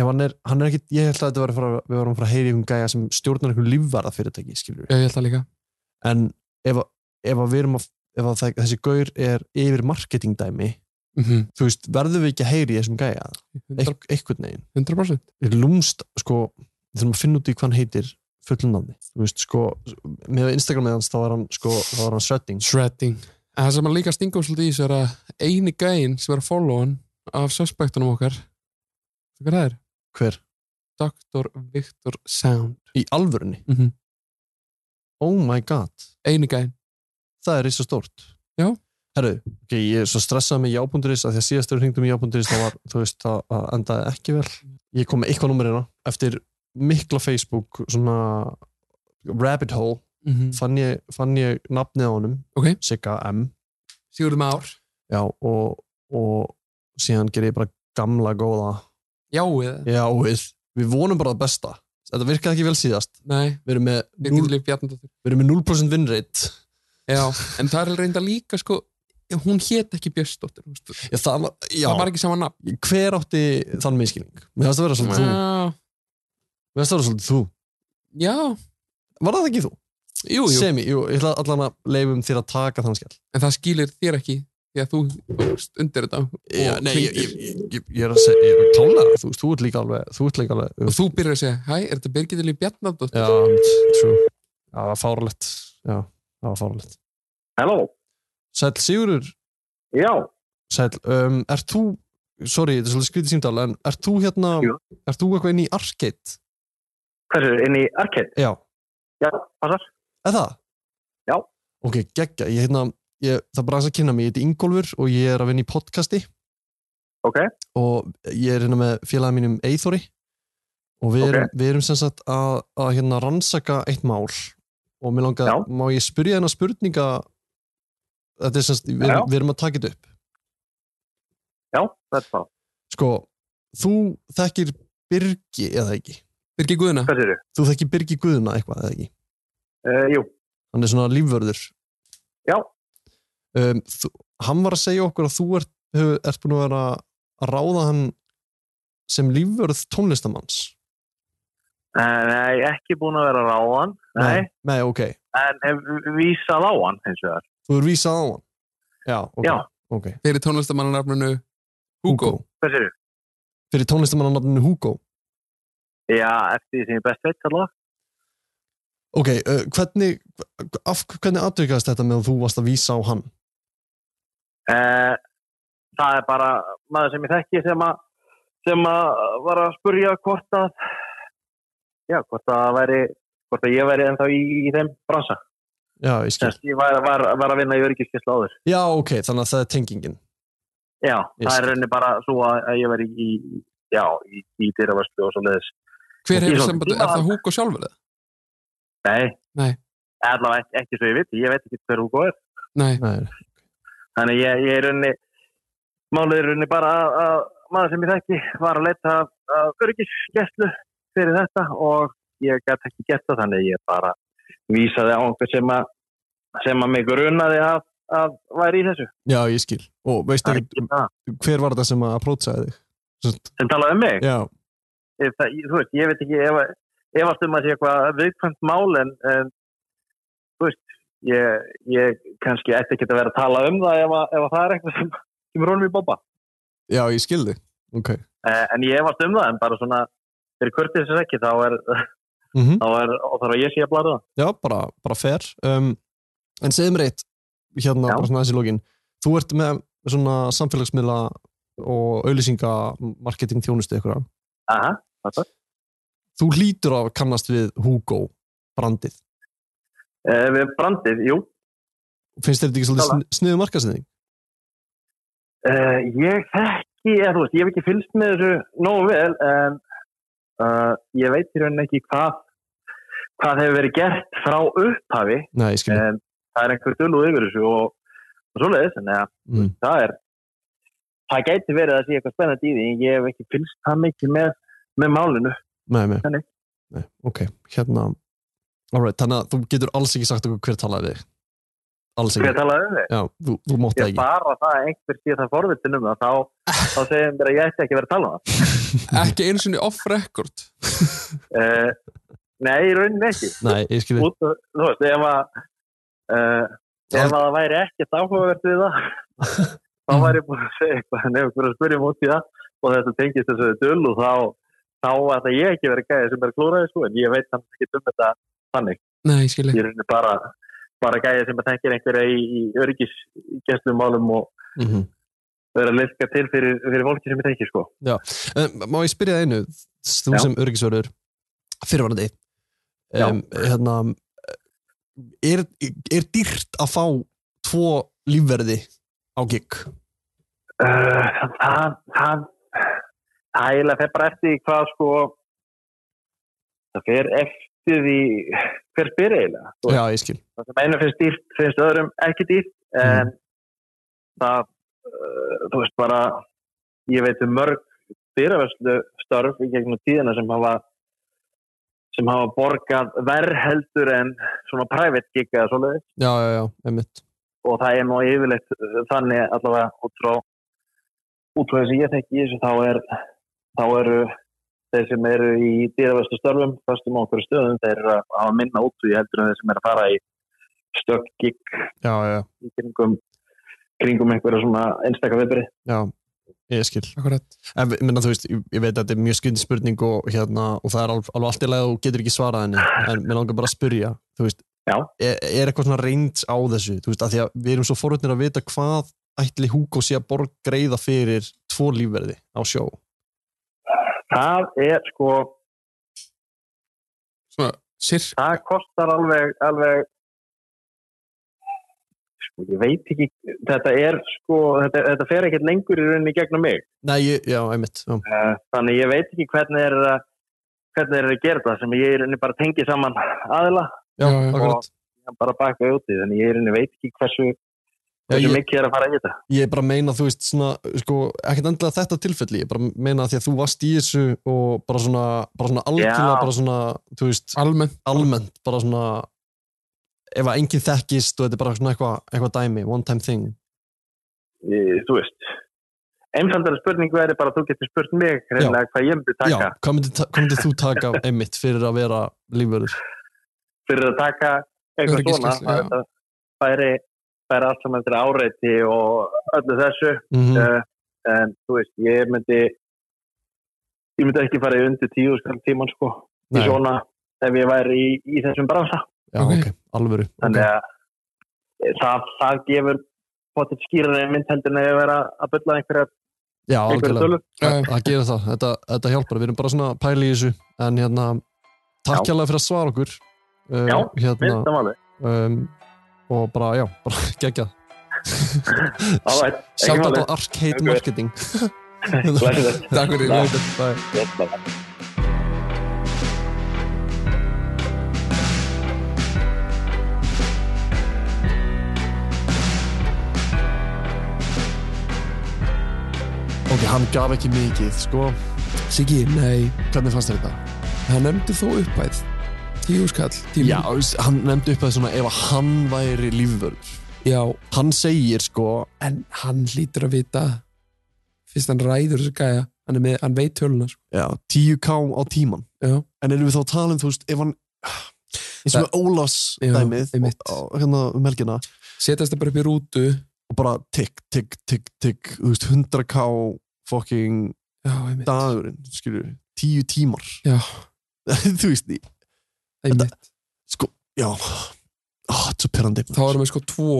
B: ef hann er, hann er ekki, ég held að þetta var að fara, við varum að fara að heyra í um gæja sem stjórnar einhver lífvarða fyrirtæki, skilur
E: já, ég held það líka
B: en ef, að- ef að við erum að ef að það, þessi gaur er yfir marketing dæmi,
E: mm -hmm.
B: þú veist, verðum við ekki að heyri þessum gæja, Eik, einhvern veginn
E: 100%
B: er lúmst, sko við þurfum að finna út í hvað hann heitir fullum nafni, þú veist, sko með Instagramið hans, þá er hann, sko, þá er hann shredding
E: shredding en það sem að líka stingum svolítið í þessu er að eini gæinn sem er að follow hann af suspektunum okkar þú hvað það er?
B: hver,
E: Dr. Victor Sound
B: í alvörunni
E: Mhm.
B: oh my god,
E: einu gæn
B: það er risa stórt
E: Já.
B: herru, ok, ég er svo stressað með jábúnduris að því að síðast eru hringdum í jábúnduris þá var, þú veist, það það endaði ekki vel ég kom með eitthvað númer hérna eftir mikla Facebook svona rabbit hole
E: mm -hmm.
B: fann ég, fann ég nafnið á honum
E: Ok.
B: Sigga M
E: Sigurðum ár
B: já, og, og síðan ger ég bara gamla góða
E: Já, eða?
B: já, við, við vonum bara það besta þetta virkaði ekki vel síðast
E: Nei,
B: við erum með,
E: Birgir
B: 0,
E: Líf Bjarnadóttir
B: við erum með 0% vinnreitt
E: Já, en það er reynda líka sko hún hét ekki Björnsdóttir þú veist.
B: já, það var, já,
E: það var ekki sama nafn
B: hver átti þann minnskilning mér finnst það vera svolítið þú mér
E: Já,
B: finnst það vera svolítið þú
E: já,
B: var það ekki þú?
E: jú, jú
B: semi, jú, ég ætla allan að leifum þér að taka þann skell
E: en það skýlir þér ekki því að þú fórst undir þetta
B: já,
E: Og
B: nei, ég,
E: hringir.
B: ég, ég, ég er að segja, ég er að klála þú veist, þú ert líka alveg, þú ert líka alveg
E: og þú byrjar að segja, hæ, er þetta Birgit Líf Bjarnadóttir?
B: já, true já, það var fáralegt já, það var fáralegt
D: Halló,
B: Sæll Sigurur,
D: já,
B: Sæll, um, er þú sorry, þetta er svolítið skrítið símdal en er þú hérna,
D: Jú.
B: er þú eitthvað inn í Arcade?
D: hversu, inn í Arcade?
B: Já,
D: Já, passar.
B: er það?
D: Já.
B: Ok, geggja, ég hérna ég, það er bara aðeins að kynna mig, ég heiti Ingólfur og ég er að vinna í podcasti
D: Ok.
B: og ég er hérna með félaga mínum Eithori og við
D: Ok.
B: erum, við erum sem sagt að, að hérna rannsaka eitt mál og mér langar,
D: Já.
B: má ég spyrja þennan spurninga þetta er sem sagt, við,
D: Já.
B: við erum að taka þetta upp
D: Já, þetta er það.
B: sko, þú þekkir Birgi eða ekki
E: Birgir Guðna,
D: Hversu eru?
B: þú þekkir Birgi Guðuna eitthvað eða ekki
D: Uh, jú,
B: hann er svona lífvörður
D: Já.
B: um, þú, hann var að segja okkur að þú ert, hef, ert búin að vera að ráða hann sem lífvörð tónlistamanns
C: Eh, Nei, ekki búin að vera að ráða hann. Nei.
B: nei, ok,
C: En hef vísað á hann, hins vegar.
B: þú er vísað á hann já, ok,
C: Já.
B: okay.
E: fyrir tónlistamannarnafninu Hugo.
C: Hvers eru?
B: fyrir tónlistamannarnafninu Hugo
C: Já, eftir því sem ég best veit allavega.
B: ok, uh, hvernig af, hvernig atvikaðist þetta með að þú varst að vísa á hann
C: Eh, það er bara maður sem ég þekki sem að sem að var að spurja hvort að já, hvort að væri hvort að ég væri ennþá í, í þeim bransa.
B: já, ég skil,
C: Þess ég var, var, var að vinna í öryggiskesla áður.
B: já, ok, þannig að það er tengingin
C: Já,
B: Ég
C: það
B: skil.
C: er rauninni bara svo að, að ég væri í, í- já, í, í dyravarslu og svo leiðis.
E: hver
C: Ég
E: hefur
C: svo-
E: samband, er það Hugo sjálfur eða?
C: Nei.
E: Nei.
C: Allavega ekki, ekki svo ég veit, ég veit ekki hver Hugo er.
E: Nei,
B: nei,
C: Þannig ég, ég er raunni, málið er raunni bara að, að maður sem ég þekki var að leita af- af örgisgæslu fyrir þetta og ég gæti ekki gert það þannig ég bara vísaði á einhver sem að, sem að mig grunaði að, að væri í þessu.
B: já, ég skil og veistu
C: Það er
B: ekki
C: ekki það.
B: hver var þetta sem að approachaði þig? Svont,
C: Sem talaði um mig.
B: já,
C: Ef Það, ég- þú veist, ég veit ekki, ef, ef að stumma sé eitthvað viðkvæmt mál en, en þú veist, ég, ég kannski ætti ekki að vera að tala um það ef, að, ef að það er eitthvað sem kemur honum í bópa.
B: já, ég skildi ok,
C: Eh, en ég hefast um það, en bara svona fyrir kurtið sem ekki, þá er,
B: mm
C: þá er og þarf að ég sé að blara það.
B: já, bara, bara fair um, en segðu mér eitt hérna,
C: Já.
B: bara svona þessi lógin þú ert með svona samfélagsmiðla og auðlýsinga marketing þjónustu ykkur
C: Aha,
B: þú hlýtur að kannast við Hugo brandið,
C: eh, við brandið, jú.
B: finnst þér þetta ekki
C: Klálega.
B: svolítið sniðu markasetning?
C: Eh, ég þekki, eða þú veist, ég hef ekki fylgst með þessu nógu vel, en uh, ég veit í rauninni ekki hvað, hvað hefur verið gert frá upphafi,
B: Nei, ég skil
C: en það er einhver dulluð yfir þessu og, og svoleiðis, en ja,
B: Mm.
C: það er, það gæti verið að sé eitthvað spennandi í því, en ég hef ekki fylgst það mikið með, með málinu.
B: Nei, nei.
C: Nei, nei.
B: Nei, ok, hérna Alright, þannig að þú getur alls ekki sagt okkur hver talaði við þig. Alls
C: Hver
B: ekki,
C: talaði um þig?
B: já, þú, þú mátt það
C: ég
B: ekki
C: bara það að einhver sé það forvitin um það þá, þá segir mér að ég ætti ekki verið að tala um það
E: ekki einu sinni off record
C: uh, Nei, í rauninni ekki
B: Nei, ég skil
C: Út, Þú veist, ef að uh, ef að það væri ekkert áhugavert við það þá væri ég búin að segja eitthvað en ef einhver er að spyrja móti það og þetta tengist þessu dullu þá þá ætla ég ekki verið gæði sem er klúraði sko, en ég veit þannig ekki um þetta þannig,
E: Nei, ég skil
C: ég
E: ekki
C: er í rauninni bara bara gæði sem að tengja einhverja í, í öryggisgestumálum og
B: mm -hmm.
C: vera að liðka til fyrir, fyrir fólki sem ég tengja sko
B: Um, Má ég spyrja það einu, þú
C: Já.
B: sem öryggisverður fyrirvarandi um, hérna, er, er dýrt að fá tvo lífverði á gig
C: Uh, það, það, það eiginlega fer bara eftir því hvað sko, það fer eftir því hver spyr eiginlega. Þú
B: já, ég skil
C: það sem einu finnst dýrt, finnst öðrum ekki dýrt, en það, uh, þú veist bara, ég veit um mörg dýravörslu störf í gegnum tíðina sem hafa sem hafa borgað verð heldur en svona private gig eða svoleiðis
B: já, já, já, einmitt
C: og það er nú yfirleitt uh, þannig allavega út frá út frá þessi ég þekki í þessu þá er þá eru þeir sem eru í dýraverstu störfum, fastum á okkur stöðum þeir eru að hafa minna út því heldur en þeir sem eru að fara í stökkgikk
B: já, já,
C: í kringum kringum einhverja svona einstakka viðbyrði
B: já, ég skil
E: Akkurat.
B: en ég minna, þú veist, ég, ég veit að þetta er mjög skundi spurning og, hérna, og það er alveg, alveg allt í leið og þú getur ekki svarað henni en mér langar bara að spyrja þú veist,
C: Já.
B: er, er eitthvað svona reynd á þessu þú veist, að því að við erum svo forutnir að vita hvað ætli Hugo sé að borg greiða fyrir tvo lífverði á sjó
C: það er sko,
E: Svona, sirk,
C: það kostar alveg alveg sko, ég veit ekki þetta er sko, þetta, þetta fer ekkert lengur í rauninni í gegnum mig
B: nei, ég, já, einmitt já,
C: Eh, þannig ég veit ekki hvernig er að hvernig er að gera það sem ég er bara tengi saman aðila
B: já,
E: Já, já.
B: akkurat
C: og bara baka í úti þannig ég er inni, veit ekki hversu,
B: Já,
C: hversu
B: ég-
C: mikið er að fara í þetta
B: ég er bara að meina þú veist svona, sko, ekkert endilega þetta tilfelli ég er bara að meina því að þú varst í þessu og bara svona, bara svona algjörlega
C: Já.
B: bara svona, þú veist,
E: almennt
B: almennt bara svona ef að enginn þekkist og þetta er bara svona eitthvað eitthva dæmi, one time thing
C: Ég- þú veist einfaldara spurning verður bara að þú getur spurt mig hreinlega hvað ég myndi taka
B: já, hvað myndir, hvað myndir þú taka af einmitt fyrir að vera lífverður
C: fyrir að taka eitthvað svona
E: Öryggisgæslu, já.
C: það færi, færi allt saman til áreiti og öllu þessu
B: mm -hmm.
C: Eh, en þú veist, ég myndi ég myndi ekki fara í undir tíu skall tíman sko í
B: Nei.
C: svona ef ég væri í, í þessum bransa
B: já,
E: ok.
B: ok, alvöru
C: þannig að eh, það, það gefur potið skýrari mynd heldur en að vera að bylla einhverja,
B: já,
C: einhverja
B: algjörlega,
C: tölur
E: Já,
B: það það gerir það þetta, þetta hjálpar, við erum bara svona að pæla í þessu en hérna, takk
C: Já.
B: hérlega fyrir að svara okkur uh,
C: Já,
B: hérna,
C: minnstamáli
B: um, og bara, já, bara geggjað Shout out
C: máli.
B: á Arcade
C: Takk fyrir.
B: Marketing
C: Glæsilegt.
E: Takk fyrir,
C: Takk.
E: Leifur. Bye.
B: Ok, hann gaf ekki mikið, sko
E: Siggi, nei,
B: Hvernig fannst þér þetta?
E: það nefndi þó upphæð tíu skall
B: Já,
E: tíman.
B: þú veist, hann nefndi upp að svona ef að hann væri lífvörður
E: já,
B: Hann segir, sko
E: en hann hlýtur að vita fyrst hann ræður þessu gæja hann, er með, hann veit töluna sko.
B: já, 10k á tíman
E: Já.
B: En erum við þá að tala um, þú veist, ef hann eins og með Ólafs
E: Já,
B: dæmið
E: einmitt.
B: á, á- hérna um helgina
E: setast það bara upp í rútu
B: og bara tikk, tikk, tikk, tikk þú veist, 100k fucking
E: já, einmitt,
B: dagurinn, skilur 10 tímar
E: Já.
B: Þú veist, sko,
E: einmitt.
B: já Ó, Þetta er svo perandi
E: þá erum við sko tvo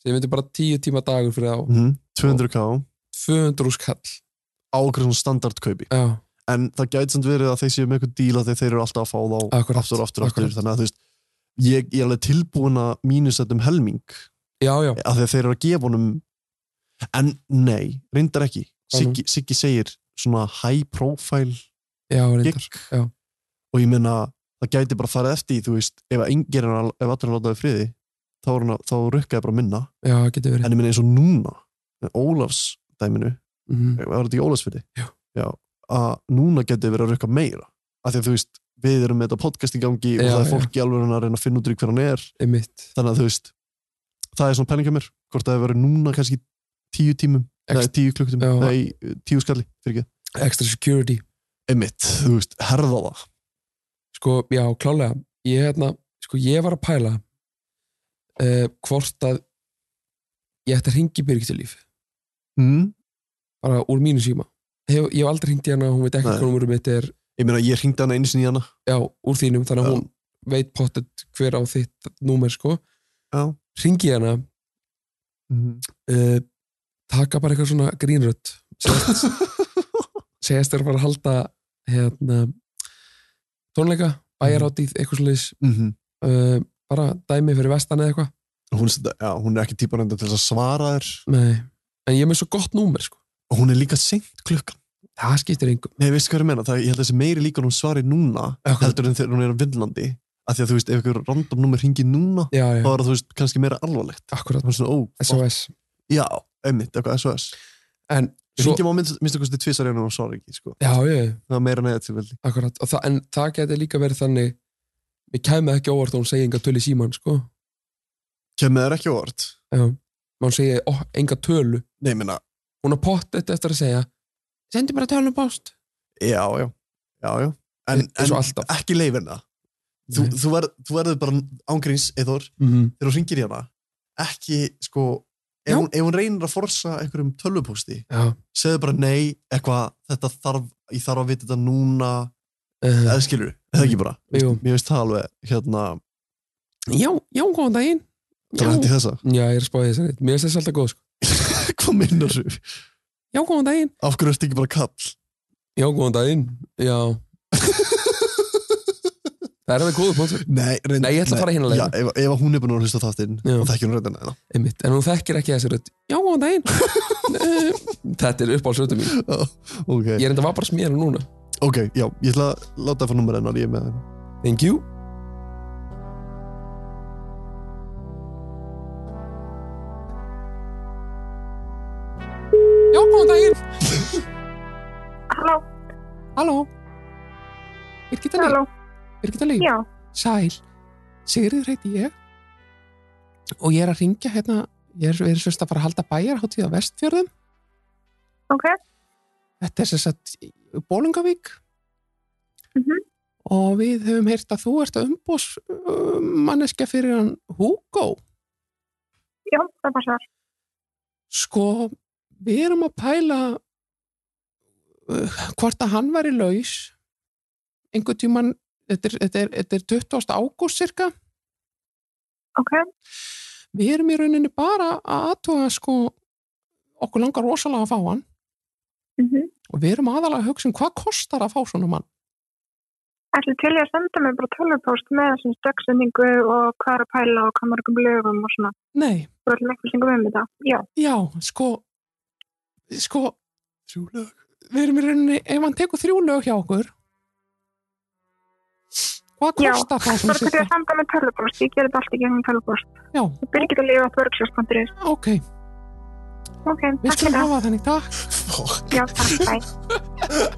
E: sem myndi bara tíu tíma dagur fyrir þá
B: Mhm, 200k
E: 200 skall
B: á okkur svona standardkaupi
E: já,
B: en það gæti samt verið að þeir séu með eitthvað díla þegar þeir eru alltaf að fá þá
E: Akkurat,
B: aftur og aftur og aftur
E: akkurat.
B: þannig að þú veist ég, ég er alveg tilbúin að mínus þetta um helming
E: já, já,
B: að þegar þeir eru að gefa honum en nei, reyndar ekki
E: Já, nú.
B: Siggi, Siggi segir svona high profile
E: já, reyndar
B: gig
E: já.
B: og ég meina það gæti bara farið eftir því, þú veist ef, að enginn er að- ef allir látaði friði þá, er hann að- þá rukkaði bara minna
E: já, getur verið
B: en ég meina eins og núna með Ólafs dæminu
E: Mhm.
B: var þetta í Ólafsfyrði
E: Já.
B: að núna getur verið að rökka meira af því að þú veist, við erum með þetta podcast í gangi og
E: Já,
B: það er
E: já.
B: fólk í alveg að reyna að finna út úr því hver hann er,
E: einmitt,
B: þannig að þú veist það er svona pælinga mér, hvort það hefur verið núna kannski tíu tímum,
E: Ex-
B: neða tíu klukkutum
E: Já.
B: nei, tíu skalli, fyrir ekki
E: extra security
B: emitt, þú veist, herða það
E: sko, já, klálega ég, hérna, sko, ég var að pæla uh, hvort að ég ætti að ringi Birgitilíf
B: mm?
E: bara úr mínu síma Hef, ég hef aldrei hringt í hana, hún veit ekki
B: Nei.
E: hvað númurum mitt er
B: ég meina, ég hringdi hana einu sinni í hana
E: já, úr þínum, þannig að
B: Já.
E: hún veit pottet hver á þitt númer sko
B: Já.
E: ringi hana uh, taka bara eitthvað svona grínrödd segjast segjast þér að fara að halda hérna, tónleika, bæjaráttið, eitthvað slags
B: Mhm.
E: uh, bara dæmi fyrir vestan eða eitthvað
B: hún, er- já, hún er ekki típa reynda til þess að svara þér
E: Nei, en ég er með svo gott númer sko.
B: og hún er líka seint klukkan
E: það skiptir engum
B: Nei, veistu hvað ég meina? Það, ég held að þessi meiri líka hún svarir núna
E: Akkurat.
B: heldur en þegar hún er á vinnlandi af því að þú veist, ef ykkur random númer ringi núna
E: já, já,
B: þá er það, þú veist, kannski meira alvarlegt
E: akkurat,
B: það er svona, ó, fuck.
E: SOS
B: já, einmitt, eitthvað SOS
E: en,
B: Svo...
E: svo,
B: ringjum á minnst, minnst okkur til tvisar einu og svarir ekki, sko
E: já, já,
B: það er meira neða til veldi
E: akkurat Og það, en það geti líka verið þannig við kæmum ekki óvart og hún segi enga tölu í síman sko.
B: kemur þér ekki á orð
E: já, Má hún segi ó, enga tölu
B: Nei, ég meina,
E: hún har pottet eftir að segja sendi bara tölum post
B: já, já, já, já en,
E: eins
B: en
E: og alltaf
B: ekki leifin það þú,
E: Nei.
B: þú, verð, þú verður bara ángríns eður
E: mm
B: þegar hún ringir í hana ekki, sko, ef
E: Já.
B: hún, ef hún reynir að forsa einhverjum tölvupósti
E: já,
B: segðu bara nei, eitthvað, þetta þarf ég þarf að vita þetta núna
E: uh,
B: eða skilur, eða ekki bara
E: Jú.
B: mér veist það alveg, hérna,
E: já, já, góðan daginn já,
B: grænt í þessa
E: já ég er að spáði þessari, mér finnst þess alltaf góð sko.
B: hvað minnar þú?
E: já, góðan daginn
B: af hverju ertu ekki bara kall?
E: já, góðan daginn, já það er það góðu punktur
B: Nei, reynd,
E: Nei, ég ætla að fara hinna leiðina.
B: Já, ef, ef hún er búin að hlusta á þáttinn
E: Já.
B: og þekkir hún reyndin eða
E: einmitt, en hún þekkir ekki þessi rödd já, góðan daginn Eh, þetta er uppáhaldsröddum mín
B: ok,
E: ég er enda var bara smér núna
B: ok, já, ég ætla að láta það fá nummer hennar, ég er með henn
E: thank you já, góðan daginn
F: Halló,
E: halló Birgitta Líf,
F: halló,
E: Birgitta Líf
F: já,
E: sæl, Sigriður heiti ég og ég er að ringja hérna, ég er, er sérst að fara að halda bæjar hátíð á vestfjörðum
F: ok,
E: Þetta er sem sagt Bólungavík
F: Mhm.
E: og við höfum heyrt að þú ert að umbús manneskja fyrir hann Hugo.
F: já, það passar.
E: Sko, við erum að pæla uh, hvort að hann væri laus einhvern tímann, þetta er, þetta er, þetta er 20. ágúst cirka.
F: Ok,
E: Við erum í rauninni bara að aðtuga sko, okkur langar rosalega að fá hann
F: mm
E: og við erum aðalega að hugsa um hvað kostar að fá svona mann.
F: ætli til ég að senda mig bara tölvupóst með þessum stöksendingu og hvað er að pæla og hvað mörgum lögum og svona.
E: Nei,
F: Þú ætlum ekki syngum um þetta. Já,
E: Já, sko sko þrjú lög við erum í rauninni, ef hann tekur þrjú lög hjá okkur hvað
F: Já,
E: kostar það
F: bara
E: svona
F: til ég að
E: cirka?
F: senda mig tölvupóst, ég gerði allt í gegnum tölvupóst.
E: Já,
F: Birgit að lifa á börgsjóðsbandurins.
E: ok,
F: Ok,
E: við
F: takk fyrir
E: skulum
F: það.
E: hafa þannig takk
F: Já, takk, bæ.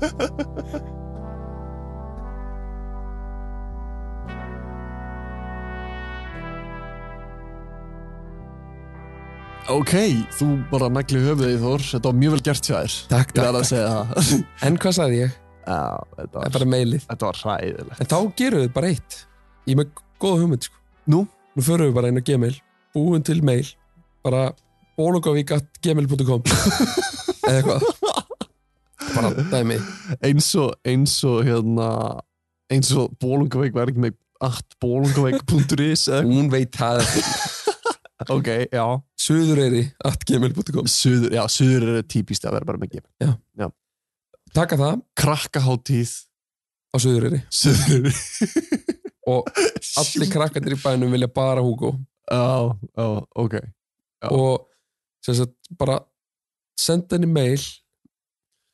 B: Ok, þú bara nagli höfuðið í þór, þetta var mjög vel gert hjá þér
E: Takk,
B: Ég verð að segja það
E: En hvað sagði ég?
B: Já, þetta
E: Það er
B: var,
E: bara meilið
B: þetta var hræðilegt
E: En þá gerum við bara eitt Ég er með góða hugmynd sko
B: Nú?
E: Nú förum við bara inn á gmail Búin til mail Bara bólungavík.gmail.com Eða eitthvað Bara dæmi
B: Eins og, eins og, hérna eins og bólungaveik var ekki með atbólungaveik.is eða
E: Hún veit það
B: eitthvað. Ok, já
E: Suðureyri at gmail.com
B: Suður, já, suður er típist að vera bara með gem
E: Taka það
B: Krakkaháttíð
E: á Suðureyri
B: Suður
E: Og allir krakkandir í bænum vilja bara Hugo
B: Já, já, ok Já.
E: og sem sagt bara senda henni mail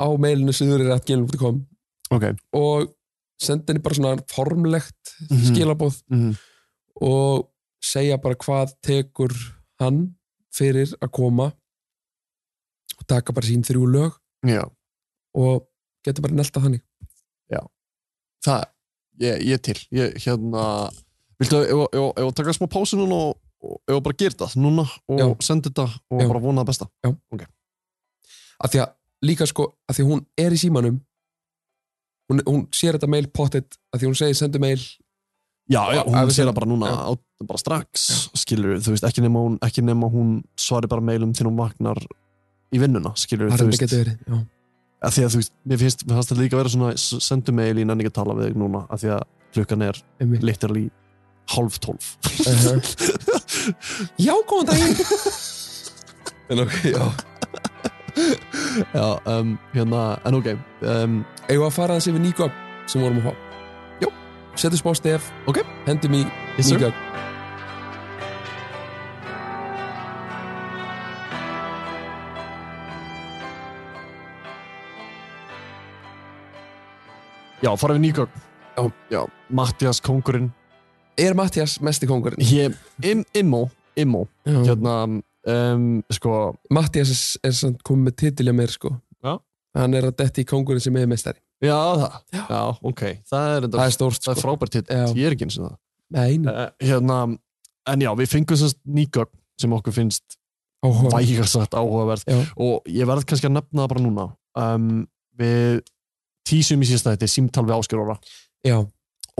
E: á mailinu suðurir.gmail.com
B: Ok
E: og senda henni bara svona formlegt
B: Mhm.
E: skilabóð
B: Mhm.
E: og segja bara hvað tekur hann fyrir að koma og taka bara sín þrjú lög
B: Já,
E: og getur bara nelta þannig
B: það, ég, ég til ég, hérna, viltu að ef- ef- ef að taka smá pásu núna og, og ef að bara gera það núna og
E: Já.
B: senda þetta og
E: Já.
B: bara vona það besta
E: af því að líka sko af því að hún er í símanum hún, hún sér þetta mail pottet af því að hún segir sendu mail
B: Já, já,
E: Ef
B: hún
E: við
B: sér
E: sendum-
B: það bara núna
E: Já.
B: á, bara strax, skilur þú veist, ekki nema hún, ekki nema hún svari bara meilum til hún vaknar í vinnuna, skilur
E: það
B: þú
E: er
B: veist,
E: ekki að verið já
B: að því að þú veist, mér finnst, mér finnst það líka að vera svona, s- sendu meil í nenni ekki að tala við þig núna, að því að klukkan er
E: einmitt.
B: literally hálf tólf
E: Uh-huh. Já, góðan daginn En ok, já
B: Já, um, hérna, en ok um,
E: Eigum við að fara þessi við nýgögn sem vorum að fá Jó, setjum smá stef
B: Ok.
E: Hendum í
B: Yes, sir.
E: nýgögn
B: Já, fara við nýgögn.
E: Já.
B: Já. Mattias Kongurinn.
E: Er Mattias mesti kongurinn?
B: Ég, im, immó, immó.
E: Já.
B: Hérna, um, sko,
E: Mattias er, er samt komið með titilja mér sko.
B: Já.
E: Hann er að detti í kongurinn sem er mestari.
B: já, það. Já, ok. Það er, enda,
E: Það er stórt
B: það er
E: sko.
B: frábært hitt.
E: Já. Uh-uh.
B: Ég er ekki eins og það.
E: Nei, nei.
B: Uh, hérna, en já, við fengum sérst nýgögn sem okkur finnst
E: Áhuga.
B: vægarsagt áhugaverð
E: Já.
B: og ég verð kannski að nefna það bara núna. Um, við tísum í síðasta þetta, símtal við Áskjör Óra.
E: Já.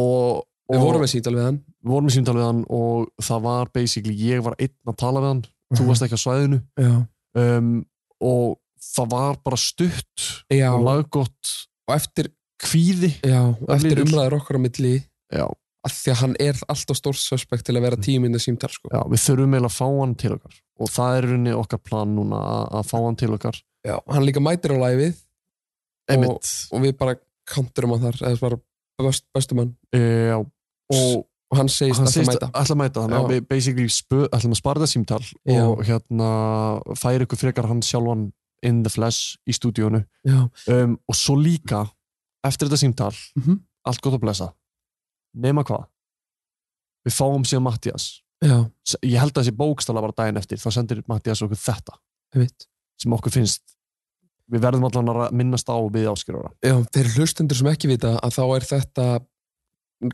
B: Og, og
E: Við vorum með síndal við hann.
B: við vorum í símtal við hann og það var basically, ég var einn að tala við hann, þú varst ekki á svæðinu
E: Já.
B: um, og það var bara stutt
E: Já.
B: og
E: Og
B: laggott
E: eftir,
B: kvíði
E: já, og eftir
B: lítill.
E: umræður okkar á milli
B: já.
E: að því að hann er alltaf stór suspekt til að vera tíminn að símtal sko.
B: Já, við þurfum eiginlega að fá hann til okkar og það er í rauninni okkar plan núna að, að fá hann til okkar
E: Já. Hann líka mætir á læfið
B: Einmitt.
E: og við bara kanturum hann þar eða bara best, bestum hann
B: E, já, og
E: og hann segist
B: hann
E: alltaf
B: segist
E: mæta.
B: alltaf að mæta þannig
E: Já.
B: að við basically spö, ætlum að spara það símtal og hérna færi ykkur frekar hann sjálfan in the flesh í stúdíónu
E: Já.
B: um, og svo líka eftir þetta símtal
E: Mhm.
B: allt gott að blessa nema hvað við fáum síðan Mattias
E: Já.
B: S- ég held að þessi bókstala bara daginn eftir þá sendir Mattias okkur þetta
E: Ég veit.
B: sem okkur finnst við verðum allan að ra- minnast á við áskýrjóra
E: Já, þeir hlustendur sem ekki vita að þá er þetta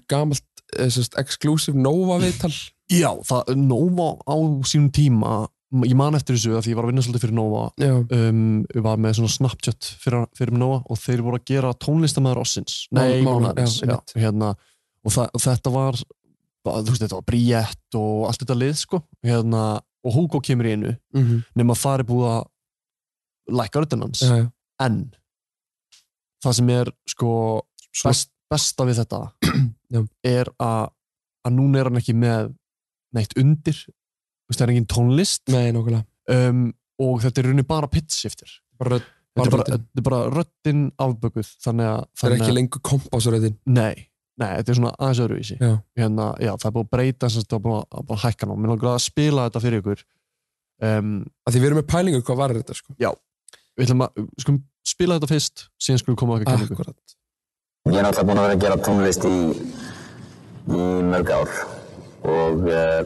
E: gamalt eh, sem sagt, exclusive Nova viðtal
B: já, það, Nova á sínum tíma m- ég man eftir þessu að því ég var að vinna svolítið fyrir Nova
E: Já,
B: um, ég var með svona Snapchat fyrir, fyrir Nova og þeir voru að gera tónlistamæður ossins
E: Má-
B: nei,
E: mánaðarins,
B: mánaðarins,
E: já,
B: já, hérna, og, það, og þetta var bara, þú veist, þetta var Briett og allt þetta lið sko, hérna, og Hugo kemur í einu
E: mm -hmm.
B: nema það er búið að lækka röddinn hans
E: já, já.
B: en það sem er sko best, besta við þetta
E: Já.
B: er að, að núna er hann ekki með neitt undir þú veist, það er engin tónlist
E: Nei, nákvæmlega
B: um, og þetta er í rauninni bara pitchshifter
E: bara, rödd-
B: þetta er bara,
E: röddin.
B: þetta er bara röddin afbökuð þannig að,
E: Það er
B: þannig
E: ekki
B: að
E: lengur kompásröðin
B: nei, nei, þetta er svona aðeins öðruvísi
E: Já.
B: hérna, já, það er búið að breyta sem sagt, það er búið að, að, búið að hækka ná, mér langar að spila þetta fyrir ykkur um,
E: að Því við erum með pælingu hvað var þetta sko
B: við ætlum að skum, spila þetta fyrst síðan skulum koma að ekki
E: Akkurat
G: Ég er náttúrulega búinn að vera að gera tónlist í, í mörg ár og uh,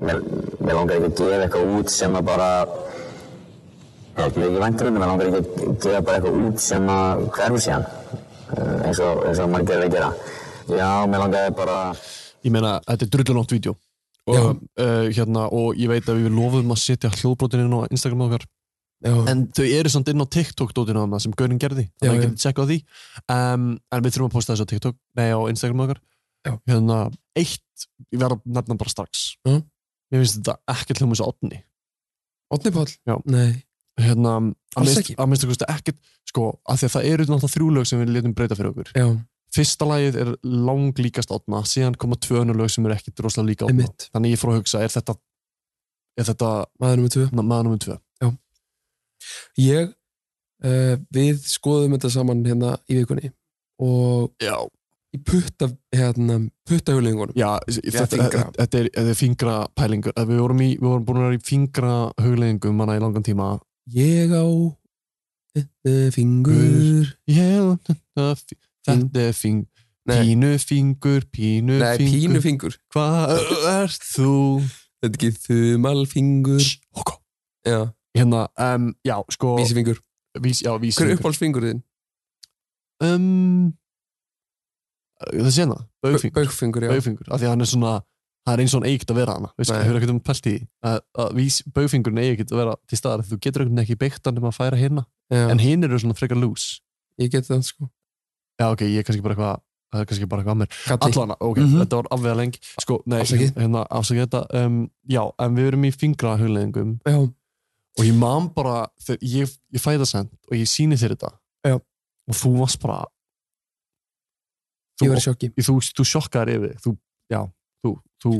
G: mér, mér langar ekki að gefa eitthvað út sem að bara, ég veit ekki væntur um það, mér langar ekki að gefa bara eitthvað út sem að hverfi síðan, uh, eins og, eins og margir er að gera. Já, mér langaði bara...
B: ég meina, þetta er drullunótt vídeo og, uh, hérna, og ég veit að við lofum að setja hljóðbrotin inn á Instagram okkar
E: Já,
B: en þau eru samt inn á TikTok dótinu þarna sem Gaurin gerði, þannig
E: Mhm. Já,
B: að
E: já.
B: ég geti tjekka á því um, en við þurfum að posta þessu á TikTok nei, á Instagram okkar
E: Já.
B: hérna, eitt, ég verð að nefna bara strax
E: Já.
B: mér finnst þetta ekki hljóma þessu átni
E: Otni Páll
B: Já.
E: Nei,
B: hérna, að
E: Alls
B: minnst-
E: ekki.
B: að minnst ekki ekkert, sko, að því að það eru náttúrulega þrjú lög sem við letum breyta fyrir okkur
E: já,
B: fyrsta lagið er lang líkast átna síðan koma tvö önnur lög sem eru ekki droslega líka átna
E: emitt
B: þannig ég fór að hugsa, er þetta, er þetta
E: Maður nummer tvö
B: na- maður nummið tvö?
E: Ég, uh, við skoðum þetta saman hérna í vikunni og
B: Já,
E: í putta hérna, puttahjólingunum
B: Já,
E: Já,
B: þetta,
E: fingra.
B: þetta- þetta er, þetta er fingra pælingu við vorum, í, við vorum búin að vera í fingra hugleðingum manna í langan tíma
E: Ég á eh, fingur
B: Ég- þetta fi-
E: Fing-
B: þetta er fing,
E: Mm. Nei.
B: pínu fingur pínu
E: Nei,
B: fingur
E: pínufingur
B: hvað ert þú
E: Þetta er ekki þumalfingur
B: Shh, ok.
E: Já,
B: hérna, um, já, sko
E: vísifingur
B: vís, já, vísi
E: Hver er uppáhaldsfingur þinn?
B: um, það sé hana, baugfingur
E: Baugfingur, já
B: baugfingur, af því að hann er svona það er eins og hann eigi ekkert að vera hana veist,
E: Nei.
B: það hefur ekkert um pælt í því. að, að vís, baugfingurinn eigi ekkert að vera til staðar því þú getur ekkert ekki beitt hann um að færa hérna
E: Já,
B: en hinn eru svona frekar lús
E: Ég get það sko
B: já ok, ég er kannski bara eitthvað það er kannski bara eitthvað að mér
E: Kalli.
B: allana, ok,
E: Mhm.
B: þetta var afvega lengi sko, nei,
E: Afsakið.
B: hérna, afsakið þetta um, já, en við erum í fingra hugleðingum
E: Já,
B: og ég man bara, þegar ég, ég fæði það send og ég síni þér þetta
E: Já.
B: og þú varst bara
E: ég
B: þú,
E: var í sjokki
B: þú, þú, sjokkaðir yfir þig. þú, já, þú, þú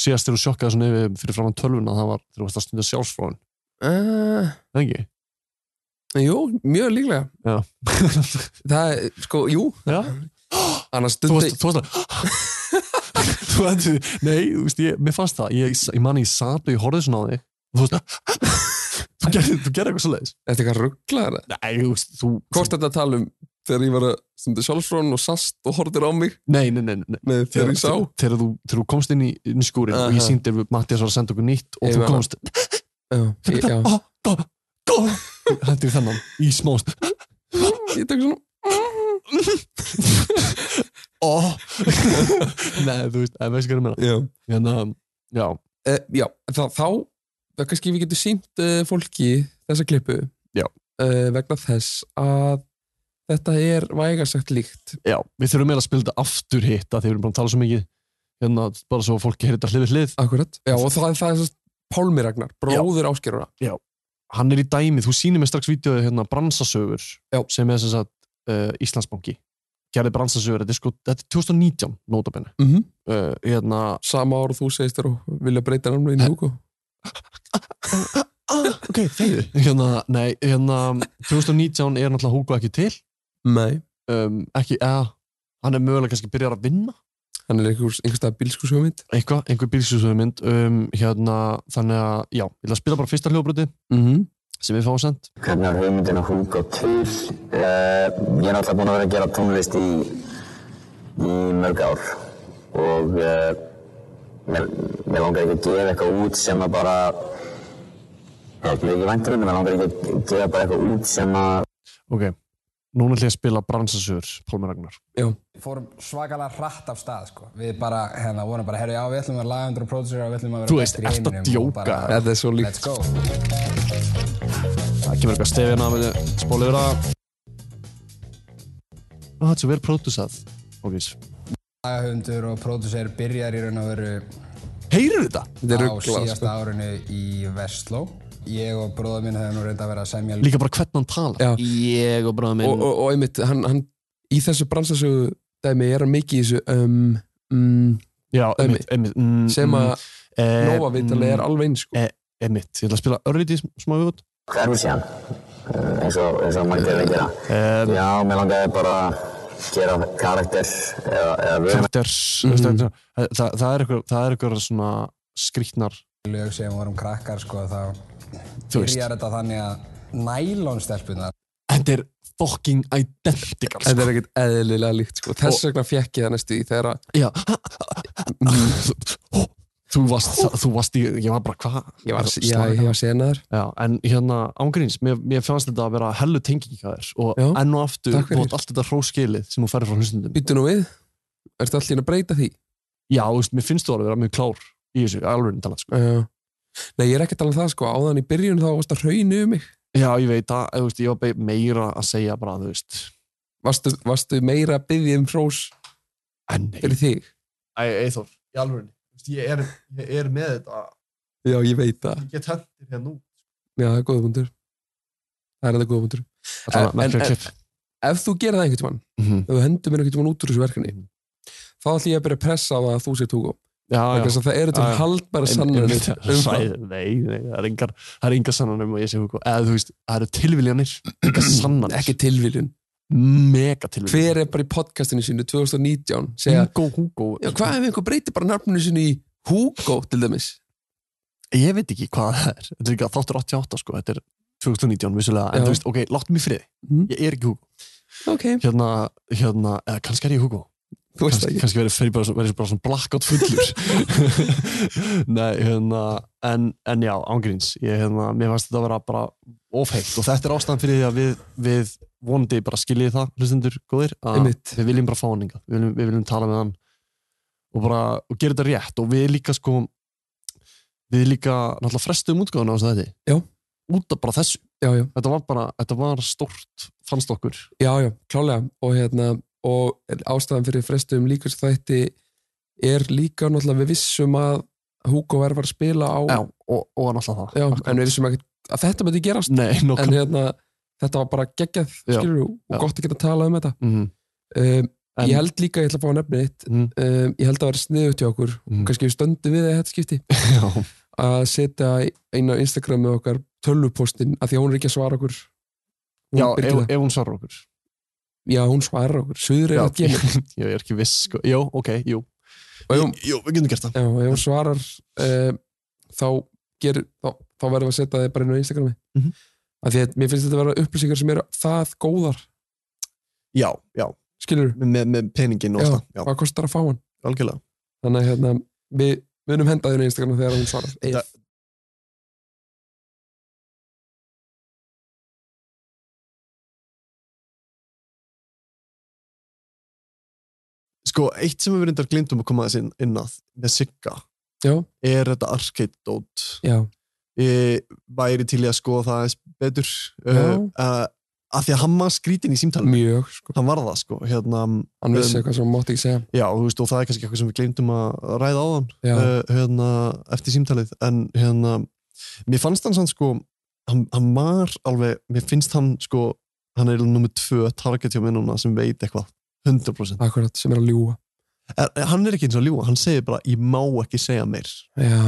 B: síðast þegar þú sjokkaðir svona yfir þig fyrir framann tölvuna það var, þegar þú varst að stunda sjálfsfróðin
E: uh,
B: það ekki?
E: Jú, mjög líklega
B: Já.
E: Það er, sko, jú
B: Já.
E: Annars
B: þú
E: stundi
B: varst, þú varst að þú varst, nei, þú veist, ég, mér fannst það ég, ég man að ég sat og ég horfði svona á þig og þú veist að þú gerði, þú gerði eitthvað svoleiðis
E: Þetta er eitthvað rugglaðar
B: nei, þú veist, þú
E: Hvort þetta tala um þegar ég var að stunda sjálfsfrón og sast og horfðir á mig
B: Nei, nei, nei, nei.
E: Nei, þegar ég sá.
B: Þegar þú, þegar þú komst inn í, inn í skúrin og ég
E: Aha.
B: síndi ef Mattias var að senda okkur nýtt og
E: Ég
B: þú
E: var-
B: komst
E: Já, ég, já.
B: Ah, gó, gó Hættu í þennan, í smást
E: ég tek svona
B: oh. Nei, þú veist, það veist hvað ég meina
E: Já,
B: Hérna, já,
E: e, já þá, þá, þá kannski við getum sínt uh, fólki þessa klippu
B: Já.
E: Eh, vegna þess að þetta er vægarsagt líkt
B: já, við þurfum meira að spila þetta aftur hitt að því við erum búin að tala svo mikið hérna, bara svo að fólki heyrir þetta hlið við hlið
E: Akkurat Já, og það, það er svo Pálmi Ragnar, bróður Áskeruna
B: Hann er í dæmi, þú sýnir mér strax vídeoið hérna, bransasögur
E: Já.
B: sem er sem sagt uh, Íslandsbanki gerði bransasögur, þetta er sko, þetta er 2019 nótabenni,
E: mm
B: uh, hérna
E: Sama ára og þú segist þér og vilja breyta námið inn í Hugo
B: ah, ok, þeir hérna, nei, hérna 2019 er náttúrulega Hugo ekki til
E: Nei
B: um, ekki, eða, hann er mögulega kannski byrjar að vinna
E: Hann er einhvers, einhverstað bílskursjómynd
B: eitthvað, einhver bílsjóðsöðumynd um, hérna, þannig að, já, ég ætla að spila bara fyrsta hljóðbruti
E: mm -hmm.
B: sem við fáum sent
G: Hvernig var hugmyndin að húka til? Uh, ég er náttúrulega búinn að vera að gera tónlist í, í mörg ár og uh, mér, mér langar ekki að gefa eitthvað út sem að bara, ég veit ekki væntur um þetta, mér langar ekki að gefa bara eitthvað út sem að
B: ok, núna ætla ég að spila bransasöður, Pálmi Ragnar
H: Við fórum svakalega hratt af stað sko. Við bara, hérna, vorum bara, herru, já, við ætlum að vera lagendur og pródusera og við ætlum að vera
B: Þú veist, ertu
H: bestir
B: að
H: heiminum og
B: djóka?
H: bara,
E: Þetta er svo líkt
H: Let's go
B: það kemur eitthvað stefina með spólið vera ah, þetta er svo vel pródusað ok,
H: Lagahöfundur og próduser byrjar í raun og veru
B: heyrur þetta?
E: Þetta er sko.
H: á
E: ruggla
B: sko.
H: síðasta árinu í Vestló Ég og bróða minn hefði nú reynda að vera að semja
B: líka bara hvernig hann tala
E: Já.
B: ég og bráða
E: og,
B: minn
E: og, og einmitt, hann, hann í þessu bransasögu dæmi er hann mikið í þessu um, um,
B: já, einmitt, einmitt mm,
E: sem að
B: mm,
E: Nóa vitali er alveg eins sko.
B: eh, einmitt, ég ætla að spila örlítið smá viðbútt
G: hverfi sé hann, uh, eins og, eins og margir er að gera.
B: um,
G: Já, mér langaði bara að gera karakter eða, eða við
B: karakter mm -hmm. það, það er eitthvað það er eitthvað svona skrýtnar
H: lög sem vorum krakkar sko, þá
B: Þú veist.
H: byrjar þetta þannig að nælonstelpunar
B: þetta er fucking identical sko.
E: þetta er ekkert eðlilega líkt sko. þess vegna fekk ég það næstu í þegar að-
B: já þú varst þú varst í ég var bara hvað
E: ég var, já, ég var senaður
B: já en hérna ángríns mér, mér fannst þetta að vera hellu tenging hjá þér og
E: Já.
B: enn og aftur
E: Takk fyrir.
B: þú átt allt þetta hróskilið sem þú færir frá hlustundum
E: býttu nú við, ertu allir að breyta því
B: já þú veist mér finnst þú alveg að vera mjög klár í þessu alveg talað sko
E: uh, nei, ég er ekkert alveg það sko. áðan í byrjun þá varst að hraunu um mig
B: já ég veit að þú veist ég var be- meira að segja bara þú veist
E: varstu, varstu meira að byggja um frós
B: en nei
E: fyrir þig
B: Æ, Eithor, í alveg ég er, ég er með þetta
E: já, ég veit það,
B: ég get hendir hér nú
E: já, það er góða punktur það er þetta góða punktur En-
B: en,
E: en- ef þú gerir það einhvern tímann
B: Mhm.
E: ef þú hendur mér einhvern tímann út úr þessu verkefni þá ætlum ég að byrja að pressa á það að þú sér tóku
B: já, já.
E: það eru til
B: Já, já.
E: haldbæra
B: Ein-
E: sannanir
B: einmitt,
E: um það
B: sæ- nei, nei, það er engar það er engar sannan um að ég sé hugo eða þú veist, það eru tilviljanir engar sannan,
E: ekki tilviljun
B: mega tilviljanir
E: hver er bara í podcastinu sínu 2019 segja,
B: Hugo, Hugo
E: já, hvað ef einhver breytir bara nafninu sínu í Hugo til dæmis
B: ég veit ekki hvað það er þetta er líka þáttur 88 sko, þetta er 2019 vissulega, en
E: Já.
B: þú veist, ok, láttu mig í friði
E: Mhm.
B: ég er ekki hugo,
E: ok,
B: hérna, hérna eða kannski er ég hugo
E: þú veist það
B: kannski,
E: ekki
B: kannski verið fyrir bara, svo- verið bara svona blackout fullur Nei, hérna en, en já, ángríns ég, hérna, mér fannst þetta að vera bara ofheitt og þetta er ástæðan fyrir því að við, við vonandi bara skiljið það, hlustendur góðir að
E: Einmitt.
B: við viljum bara fá hann hingað við viljum, við viljum tala með hann og bara, og gera þetta rétt og við líka sko við líka náttúrulega frestum útgáðuna á þessu þetta
E: Já.
B: út af bara þessu,
E: já, já,
B: þetta var bara þetta var stort, fannst okkur
E: já, já, klálega og hérna, og ástæðan fyrir frestum líka þætti er líka náttúrulega við vissum að Hugo er var að spila á
B: já, og, og náttúrulega það
E: Já,
B: Akkurat.
E: en við vissum ekkert að þetta myndi gerast
B: Nei, nokkuð
E: en hérna, þetta var bara geggjað
B: Já.
E: skilur og
B: Já.
E: gott að geta talað um þetta
B: Mhm.
E: um,
B: En-
E: ég held líka, ég ætla að fá að nefna eitt
B: Mhm.
E: um, ég held að það vera sniðut hjá okkur
B: Mhm.
E: kannski við stöndum við það í þetta skipti
B: Já,
E: að setja einu á Instagram með okkar tölvupostin, að því að hún er ekki að svara okkur Hún
B: já
E: Birgitta.
B: ef, ef hún svarar okkur
E: já hún svarar okkur, suður er
B: Já,
E: að gemi
B: ég er ekki viss sko. Jó, ok, jú
E: og ef hún,
B: Jú, við getum gert það
E: já, ef hún svarar um, þá gerir þá, þá verðum við að setja þið bara inn á Instagrami
B: Mhm.
E: að því að mér finnst þetta að vera upplýsingar sem eru það góðar
B: já, já,
E: skilur
B: með, með peningin og
E: Já,
B: alltaf, já,
E: hvað kostar að fá hann
B: algjörlega
E: þannig að hérna, við munum henda þér í Instagram þegar hún svarar
B: Þetta- sko, eitt sem við reyndar glemdum að koma þess inn, inn að með Sigga
E: Já.
B: er þetta arcade dót
E: Já.
B: ég væri til í að skoða það aðeins betur
E: Já.
B: uh, uh, að því að hann var skrítin í símtalinu
E: mjög, sko.
B: hann var það sko hérna,
E: hann vissi eitthvað sem hann mátti ekki segja
B: já, þú veist, og það er kannski eitthvað sem við glemdum að ræða á hann
E: Já.
B: uh, hérna, eftir símtalið en hérna, mér fannst hann sann sko hann, hann var alveg, mér finnst hann sko, hann er nummið tvö target hjá mér núna sem veit eitthvað 100%
E: akkurat, sem er að ljúa
B: er, er- hann er ekki eins og að ljúa, hann segir bara ég má ekki segja meir
E: já,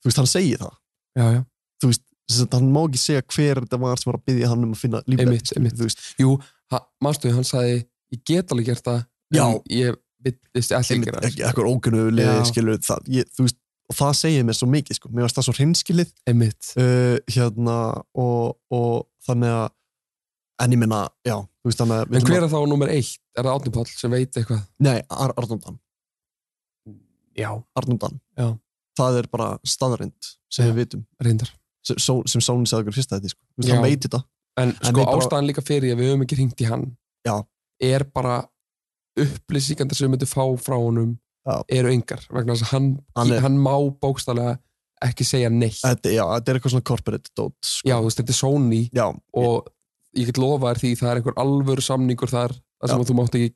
B: þú veist, hann segir það
E: já, já,
B: þú veist, þess að hann má ekki segja hver þetta var sem var að byggja hann um að finna lífið
E: einmitt, einmitt
B: þú veist,
E: jú, mannstuði, hann sagði ég get alveg gert það en
B: Já.
E: ég villist allir
B: einmitt,
E: gera það,
B: ekki eitthvað ógunnulegi
E: Já.
B: skilur það, ég, þú veist, og það segir mér svo mikið sko, mér varst það svo hreinskilið
E: einmitt
B: uh, hérna og, og þannig að en ég minna, já, þú veist þannig að við
E: en
B: ætlum
E: hver er þá nummer eitt, er það Átni Páll sem veit eitthvað
B: að- Nei, Ar Arnóndan,
E: já,
B: Arnóndan
E: Já.
B: það er bara staðarind sem
E: Já.
B: við vitum,
E: reyndar
B: sem, Só- sem Sóni sagði okkur fyrsta þetta, sko. Þú veist,
E: Já.
B: hann veit þetta
E: En
B: En
E: sko
B: við bara-
E: ástæðan líka fyrir því að við höfum ekki hringt í hann
B: Já.
E: er bara upplýsingandi sem við myndum fá frá honum
B: Já.
E: eru yngar vegna þess að hann,
B: Hann
E: hann,
B: er-
E: má bókstælega ekki segja neitt
B: þetta, já, þetta er eitthvað svona corporate dot, sko.
E: Já, þú veist, þetta er Sony
B: já,
E: og ég get lofa þér því það er einhver alvöru samningur þar þar sem
B: Já.
E: að þú mátt ekki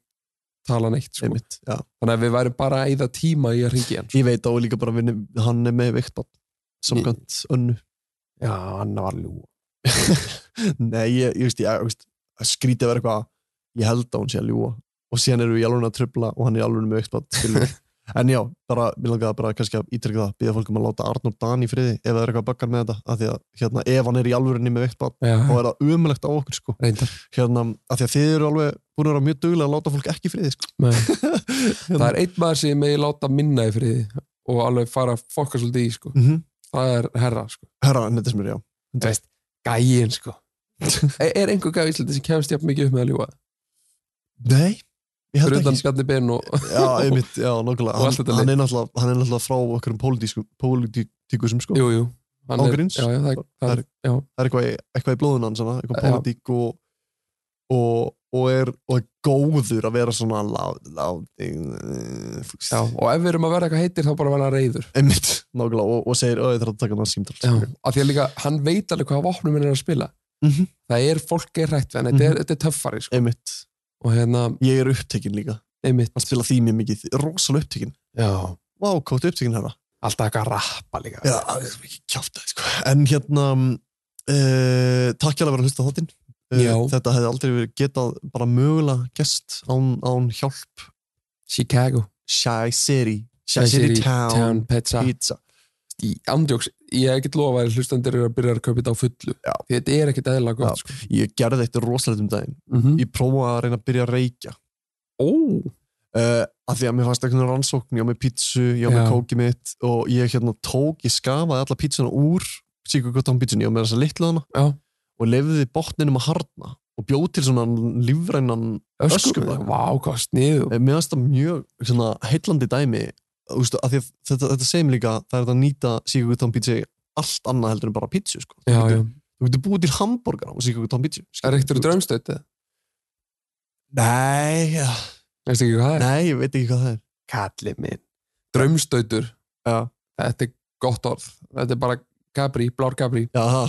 E: tala neitt sko.
B: einmitt, já
E: þannig að við værum bara að eyða tíma í að hringi hann
B: Ég veit á líka bara að vinni- hann er með viktbann samkvæmt önnu
E: Já, hann var ljú
B: Nei, ég, ég veist, ég, ég veist að skrítið að vera eitthvað ég held að hún sé að ljúa og síðan eru við í alveg að tröfla og hann er alveg með viktbann En já, bara, mér langaði bara kannski að ítrykka það, býða fólkum að láta Arnór Dan í friði ef það er eitthvað bakkar með þetta, af því að hérna, ef hann er í alvörinni með viktbann, þá
E: Já,
B: er það umulegt á okkur, sko.
E: reyndar
B: Hérna, af því að þið eru alveg búin að vera mjög duglega að láta fólk ekki í friði, sko.
E: Nei.
B: hérna,
E: Það er einn maður sem ég megi láta minna í friði og alveg fara að fokka svolítið í sko.
B: Mhm.
E: það er herra sko.
B: Herra, Nettismir, já.
E: Þú veist, gæin sko er, er einhver gæði í Íslandi sem kemst jafn mikið upp með að ljúa
B: Nei, ég held
E: fyrir
B: ekki, sko.
E: utan Bjarni Ben og
B: Já, einmitt, já, nákvæmlega
E: Og allt
B: hann,
E: þetta
B: hann,
E: lið.
B: er náttúrulega, hann er náttúrulega frá okkur um pólitíkusum sko.
E: jú, jú, hann er,
B: Ángríns.
E: já, já, það, það er, já,
B: það er eitthvað, í- eitthvað í blóðun hans hana, eitthvað
E: Já.
B: pólitík og, og, og er og er góður að vera svona lát, lát
E: já, og ef við erum að vera eitthvað heitir þá bara vera reyður
B: einmitt, nákvæmlega og, og segir, "Ó, ég þarf að taka hann að símtál
E: já. af því að líka, hann veit alveg hvaða vopnum hann er að spila
B: Mhm.
E: það er fólk er hrætt við hann, þetta er, þetta er töffari sko.
B: einmitt,
E: og hérna,
B: ég er upptekinn líka
E: einmitt
B: hann spila því mjög mikið, rosalega upptekinn
E: já.
B: Vá, kótt upptekinn hérna
E: alltaf eitthvað að rappa líka
B: Já, það er ekki kjáft sko. En hérna uh, Takk hjálpa að vera að hlusta á þáttinn
E: Já.
B: uh, Þetta hefði aldrei verið getað bara mögulega gest án, án hjálp
E: Chicago,
B: Shy City Shy City, Town,
E: Town Pizza
B: Pizza
E: í andjóks, ég get lofa að hlustandir eru að byrja að kaupa þetta á fullu
B: Já.
E: Því þetta er ekkit eðla
B: Já.
E: gott sko.
B: Ég gerði eitt rosalegt um daginn
E: mm -hmm.
B: Ég prófaði að reyna að byrja að reykja
E: Ó,
B: uh, að því að mér fannst eitthvað rannsókn ég á með pítsu, ég á með
E: Já.
B: kókið mitt og ég hérna tók, ég skafaði alla pítsuna úr síkugottan pítsun, ég á með þessa litlu hana
E: Já.
B: og lefði botninum að harna og bjóð til svona lífrænan Öskubakk.
E: Vá, hvað sniðu
B: Eh, mér finnst það mjög svona, heillandi dæmi ústu, að að þetta, þetta segir mér líka það er þetta að nýta síkugután pítsu í allt annað heldur en bara pítsu sko.
E: Já, já.
B: þú, getur- þú getur búið til hambúrgar á síkugután pítsu skilur.
E: Er eittur drömstöð?
B: nei, ja,
E: Veistu ekki hvað það er?
B: nei, ég veit ekki hvað það er
E: Kalli minn. Drömstöður.
B: Já.
E: Þetta er gott orð. Þetta er bara Gabri, blár Gabri.
B: já, ha,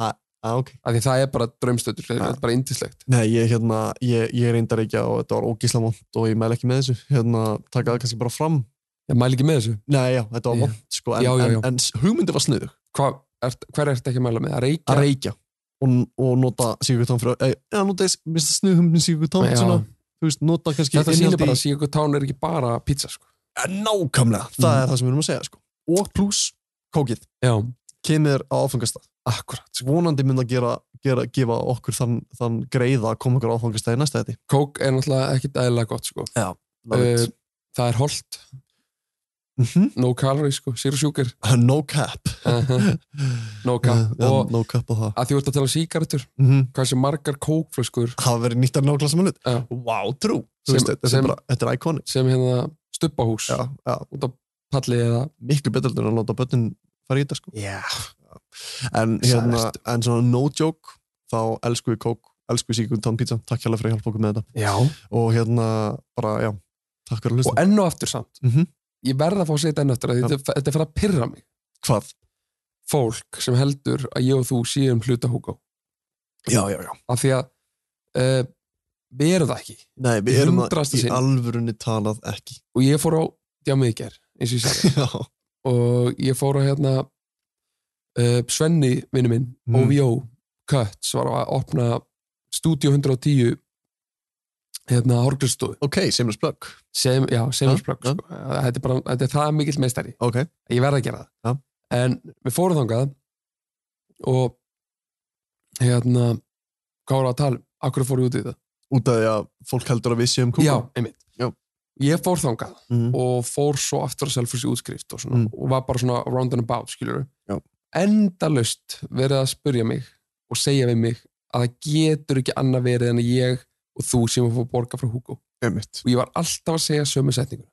B: ha, ok
E: Af því það er bara drömstöður. Þetta
B: Já.
E: er bara indislegt.
B: nei, ég, hérna, ég, ég reyndar ekki og þetta var ógísla vond og ég mæl ekki með þessu hérna, taka það kannski bara fram
E: Ég mæli ekki með þessu.
B: nei, já, þetta var
E: Já.
B: vond sko, en,
E: Já, já, já.
B: en, en hugmyndi var sniðug
E: Hva, er, hver er þetta ekki að mæla með? Að reykja?
B: að reykja og, og nota síkugután fyrir eh, já, nota sniðhumni síkugután
E: Já.
B: svona þú veist, nota kannski
E: Þetta sýnir
B: innihald í-
E: bara að Sigur Tán er ekki bara pizza, sko.
B: Ja, nákvæmlega, það
E: Mhm.
B: er það sem við erum að segja sko. og pluss kókið
E: Já.
B: kemur á áfangastað
E: Akkurat.
B: vonandi mynd að gera, gera, gefa okkur þann, þann greiða að koma okkur á áfangastað í
E: Eh,
B: næsta þetta
E: Kók er náttúrulega ekkit aðeinslega gott, sko.
B: já,
E: Uh, það er holdt. no calories sko, zero sugar
B: Mhm. no cap
E: no cap
B: Já,
E: og
B: no cap á það
E: að því voru að tala um sígarettur
B: Mhm.
E: hversu margar kókflöskur
B: hafa verið nýttar nákvæmlega saman hlut
E: já.
B: wow, trú
E: Sem-
B: sem, veist, þetta,
E: sem-
B: er bara, þetta er iconic
E: sem hérna stubbahús
B: já, já.
E: út á palli eða
B: miklu betur heldur en að láta börnin fara í þetta sko.
E: Já.
B: en, hérna,
E: Sæðast.
B: en svona no joke þá elsku við kók, elsku við síkund tón pizza, takk hérlega fyrir að hjálpa okkur með þetta
E: Já.
B: og hérna bara, já, takk fyrir að
E: og
B: hlusta
E: enn og aftur samt
B: Mhm.
E: ég verð að fá að segja þetta enn og aftur af því þetta, þetta er fyrir að pyrra mig
B: hvað?
E: fólk sem heldur að ég og þú séum hluta Hugo
B: já, já, já,
E: af því að uh, við erum það ekki
B: nei, við erum það
E: Hundraðasta
B: í
E: sinn.
B: alvörunni talað ekki
E: og ég fór á djámið í ger eins og ég sagði
B: já,
E: og ég fór á hérna uh, Svenni vinnu minn
B: Mm.
E: OVO Cuts var að opna Studio 110 hérna Horglustofu
B: ok, sem er spökk
E: sem, já, sem
B: Ja,
E: er spökk
B: ja.
E: sko. þetta, er bara- þetta er það mikill meistari
B: ok,
E: ég verði að gera það en við fórum þangað og hérna hvað voru að tala, um? af hverju fórum við út í það
B: út af því að fólk heldur að við séum kúkum
E: já, einmitt
B: Já.
E: ég fór þangað
B: Mhm.
E: og fór svo aftur að selfur sér útskrift og, svona,
B: Mm.
E: og var bara svona round and about skiljur
B: Já.
E: endalaust verið að spurja mig og segja við mig að það getur ekki annað verið en að ég og þú sem að fá að borga frá Hugo
B: einmitt
E: og ég var alltaf að segja sömu setninguna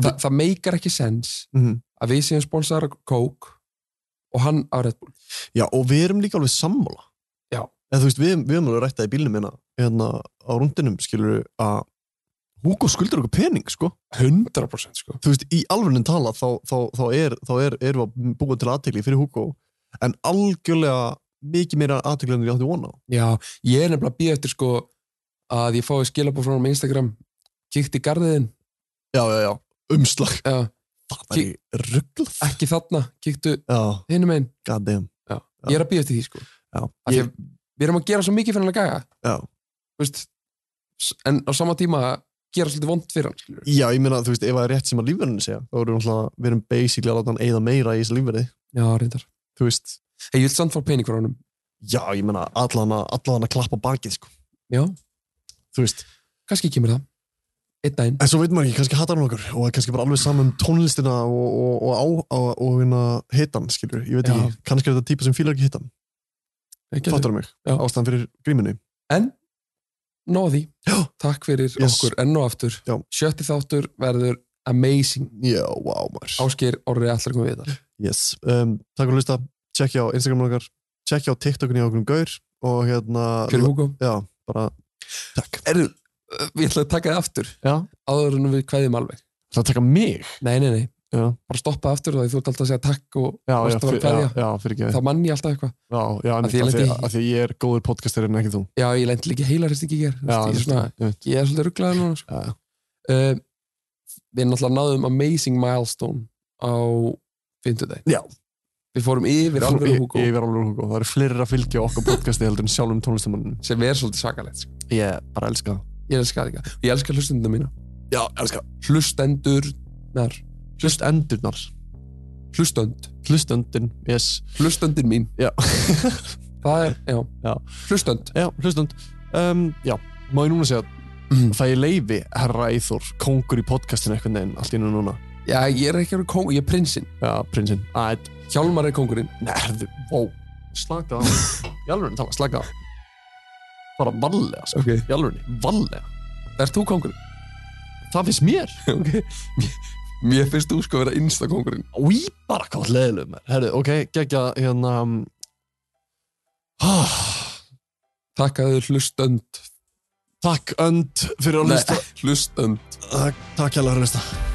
E: Þa, það meikar ekki sens
B: Mhm.
E: að við séum sponsorar af Coke og hann af Red Bull
B: já, og við erum líka alveg sammála
E: Já.
B: Eða, þú veist, við, við erum alveg rættað í bílnum hérna, hérna á rundinum skilur að Hugo skuldur okkur pening sko
E: 100% sko
B: þú veist, í alvörnum tala þá, þá, þá, er, þá er, erum við að búa til aðtegli fyrir Hugo en algjörlega mikið meira aðtegli en við áttum vona á.
E: Já, ég er nefnilega að býja eftir sko að ég fái skilabóð frá hann á Instagram kíkt í garðiðin,
B: Já, já, já, umslag.
E: já,
B: Það var í rugglað.
E: ekki þarna kíktu
B: Já,
E: hinum einn,
B: god damn.
E: ég er að býja eftir því sko
B: Já,
E: Af því
B: ég,
E: að við erum að gera svo mikið fyrir hann að gaga
B: já.
E: þú veist, s- en á sama tíma gera svolítið vond fyrir hann skilur.
B: já, ég meina, þú veist, ef það er rétt sem að lífverðinu segja, þá erum við náttúrulega, við erum basically að láta hann eigða meira í þessu lífverði,
E: Já, reyndar
B: þú veist.
E: hey, Ég vil samt fá pening frá honum
B: Já, ég meina, allan að, allan að klappa á bakið, sko.
E: Já.
B: Þú veist,
E: kannski kemur það, einn daginn
B: En svo veitum maður ekki, kannski hattar hann okkur og er kannski bara alveg saman um tónlistina og, og, og, á, og, og hérna hitan, skilur, ég veit
E: Já.
B: ekki, kannski er þetta típa sem fílar ekki hitan,
E: Ekki alveg.
B: fattar mig,
E: Já.
B: ástæðan fyrir gríminu.
E: En nóg að því,
B: Já.
E: takk fyrir
B: Yes.
E: okkur enn og aftur
B: Já.
E: Sjötti þáttur verður amazing
B: Já, wow, maður.
E: Ásgeir orðið allar komið við það
B: Yes, um, takk fyrir að hlusta, tjekkja á Instagram okkar, tjekkja á TikTokunni á okkur um gaur og hérna,
E: Fyrir Hugo
B: já, bara, takk.
E: Erðu, ég ætla að taka þið aftur
B: Já.
E: áður en við kveðum alveg
B: Það taka mig.
E: Nei, nei, nei,
B: Já.
E: bara stoppa aftur það þú ert alltaf að segja takk og
B: Já, já,
E: varst að fara að
B: fyrir, já,
E: kveðja
B: já, fyrir ekki.
E: þá mann ég alltaf eitthvað
B: Já, já, en
E: Af því ég
B: því,
E: lendi í-
B: að því ég er góður podcaster en ekki þú.
E: Já, ég lendi líka heilarist ekki hér
B: Já,
E: ég, er svona,
B: ég veit.
E: ég er svolítið rugglaður núna sko.
B: Já, já.
E: uh, Við náttúrulega náðum amazing milestone á fimmtudeg
B: Já.
E: Við fórum yfir alveg
B: Ég-
E: Hugo
B: Ég er alveg Hugo. Það eru fleiri að fylgja okkar podcasti heldur en sjálfum tónlistamannin.
E: sem er svolítið svakalegt sko.
B: Ég bara elska það.
E: Ég elska það líka, ég elska hlustendurna mína
B: Já, elska.
E: Hlustendurnar,
B: Hlust endurnar.
E: hlustönd
B: Hlustundin, yes.
E: Hlustendin mín
B: Já,
E: Það er, já,
B: Já.
E: hlustönd
B: já hlustund. Um, já, má ég núna segja
E: Mhm.
B: að það ég leifi herra Eithor, kóngur í podcastinu eitthvað neginn, allt í einu núna.
E: Já, ég er ekki að vera kóng, ég er prinsinn
B: Já, prinsinn. Æt,
E: Hjálmar er kóngurinn
B: nærðu, ó, slaka á. Í alveg tala, slaka á. Bara vallega, sko.
E: Ok.
B: Í alveg, vallega.
E: Ert þú kóngurinn?
B: Það finnst mér.
E: ok Mér finnst þú sko að vera innsta kóngurinn
B: Új, bara hvað leðilegum er. Herru, ok, geggja hérna... um, ah,
E: Takk að þau hlustönd
B: Takk önd fyrir að
E: Nei,
B: hlusta.
E: Hlustönd
B: Takk, takk hérlega fyrir að hlusta.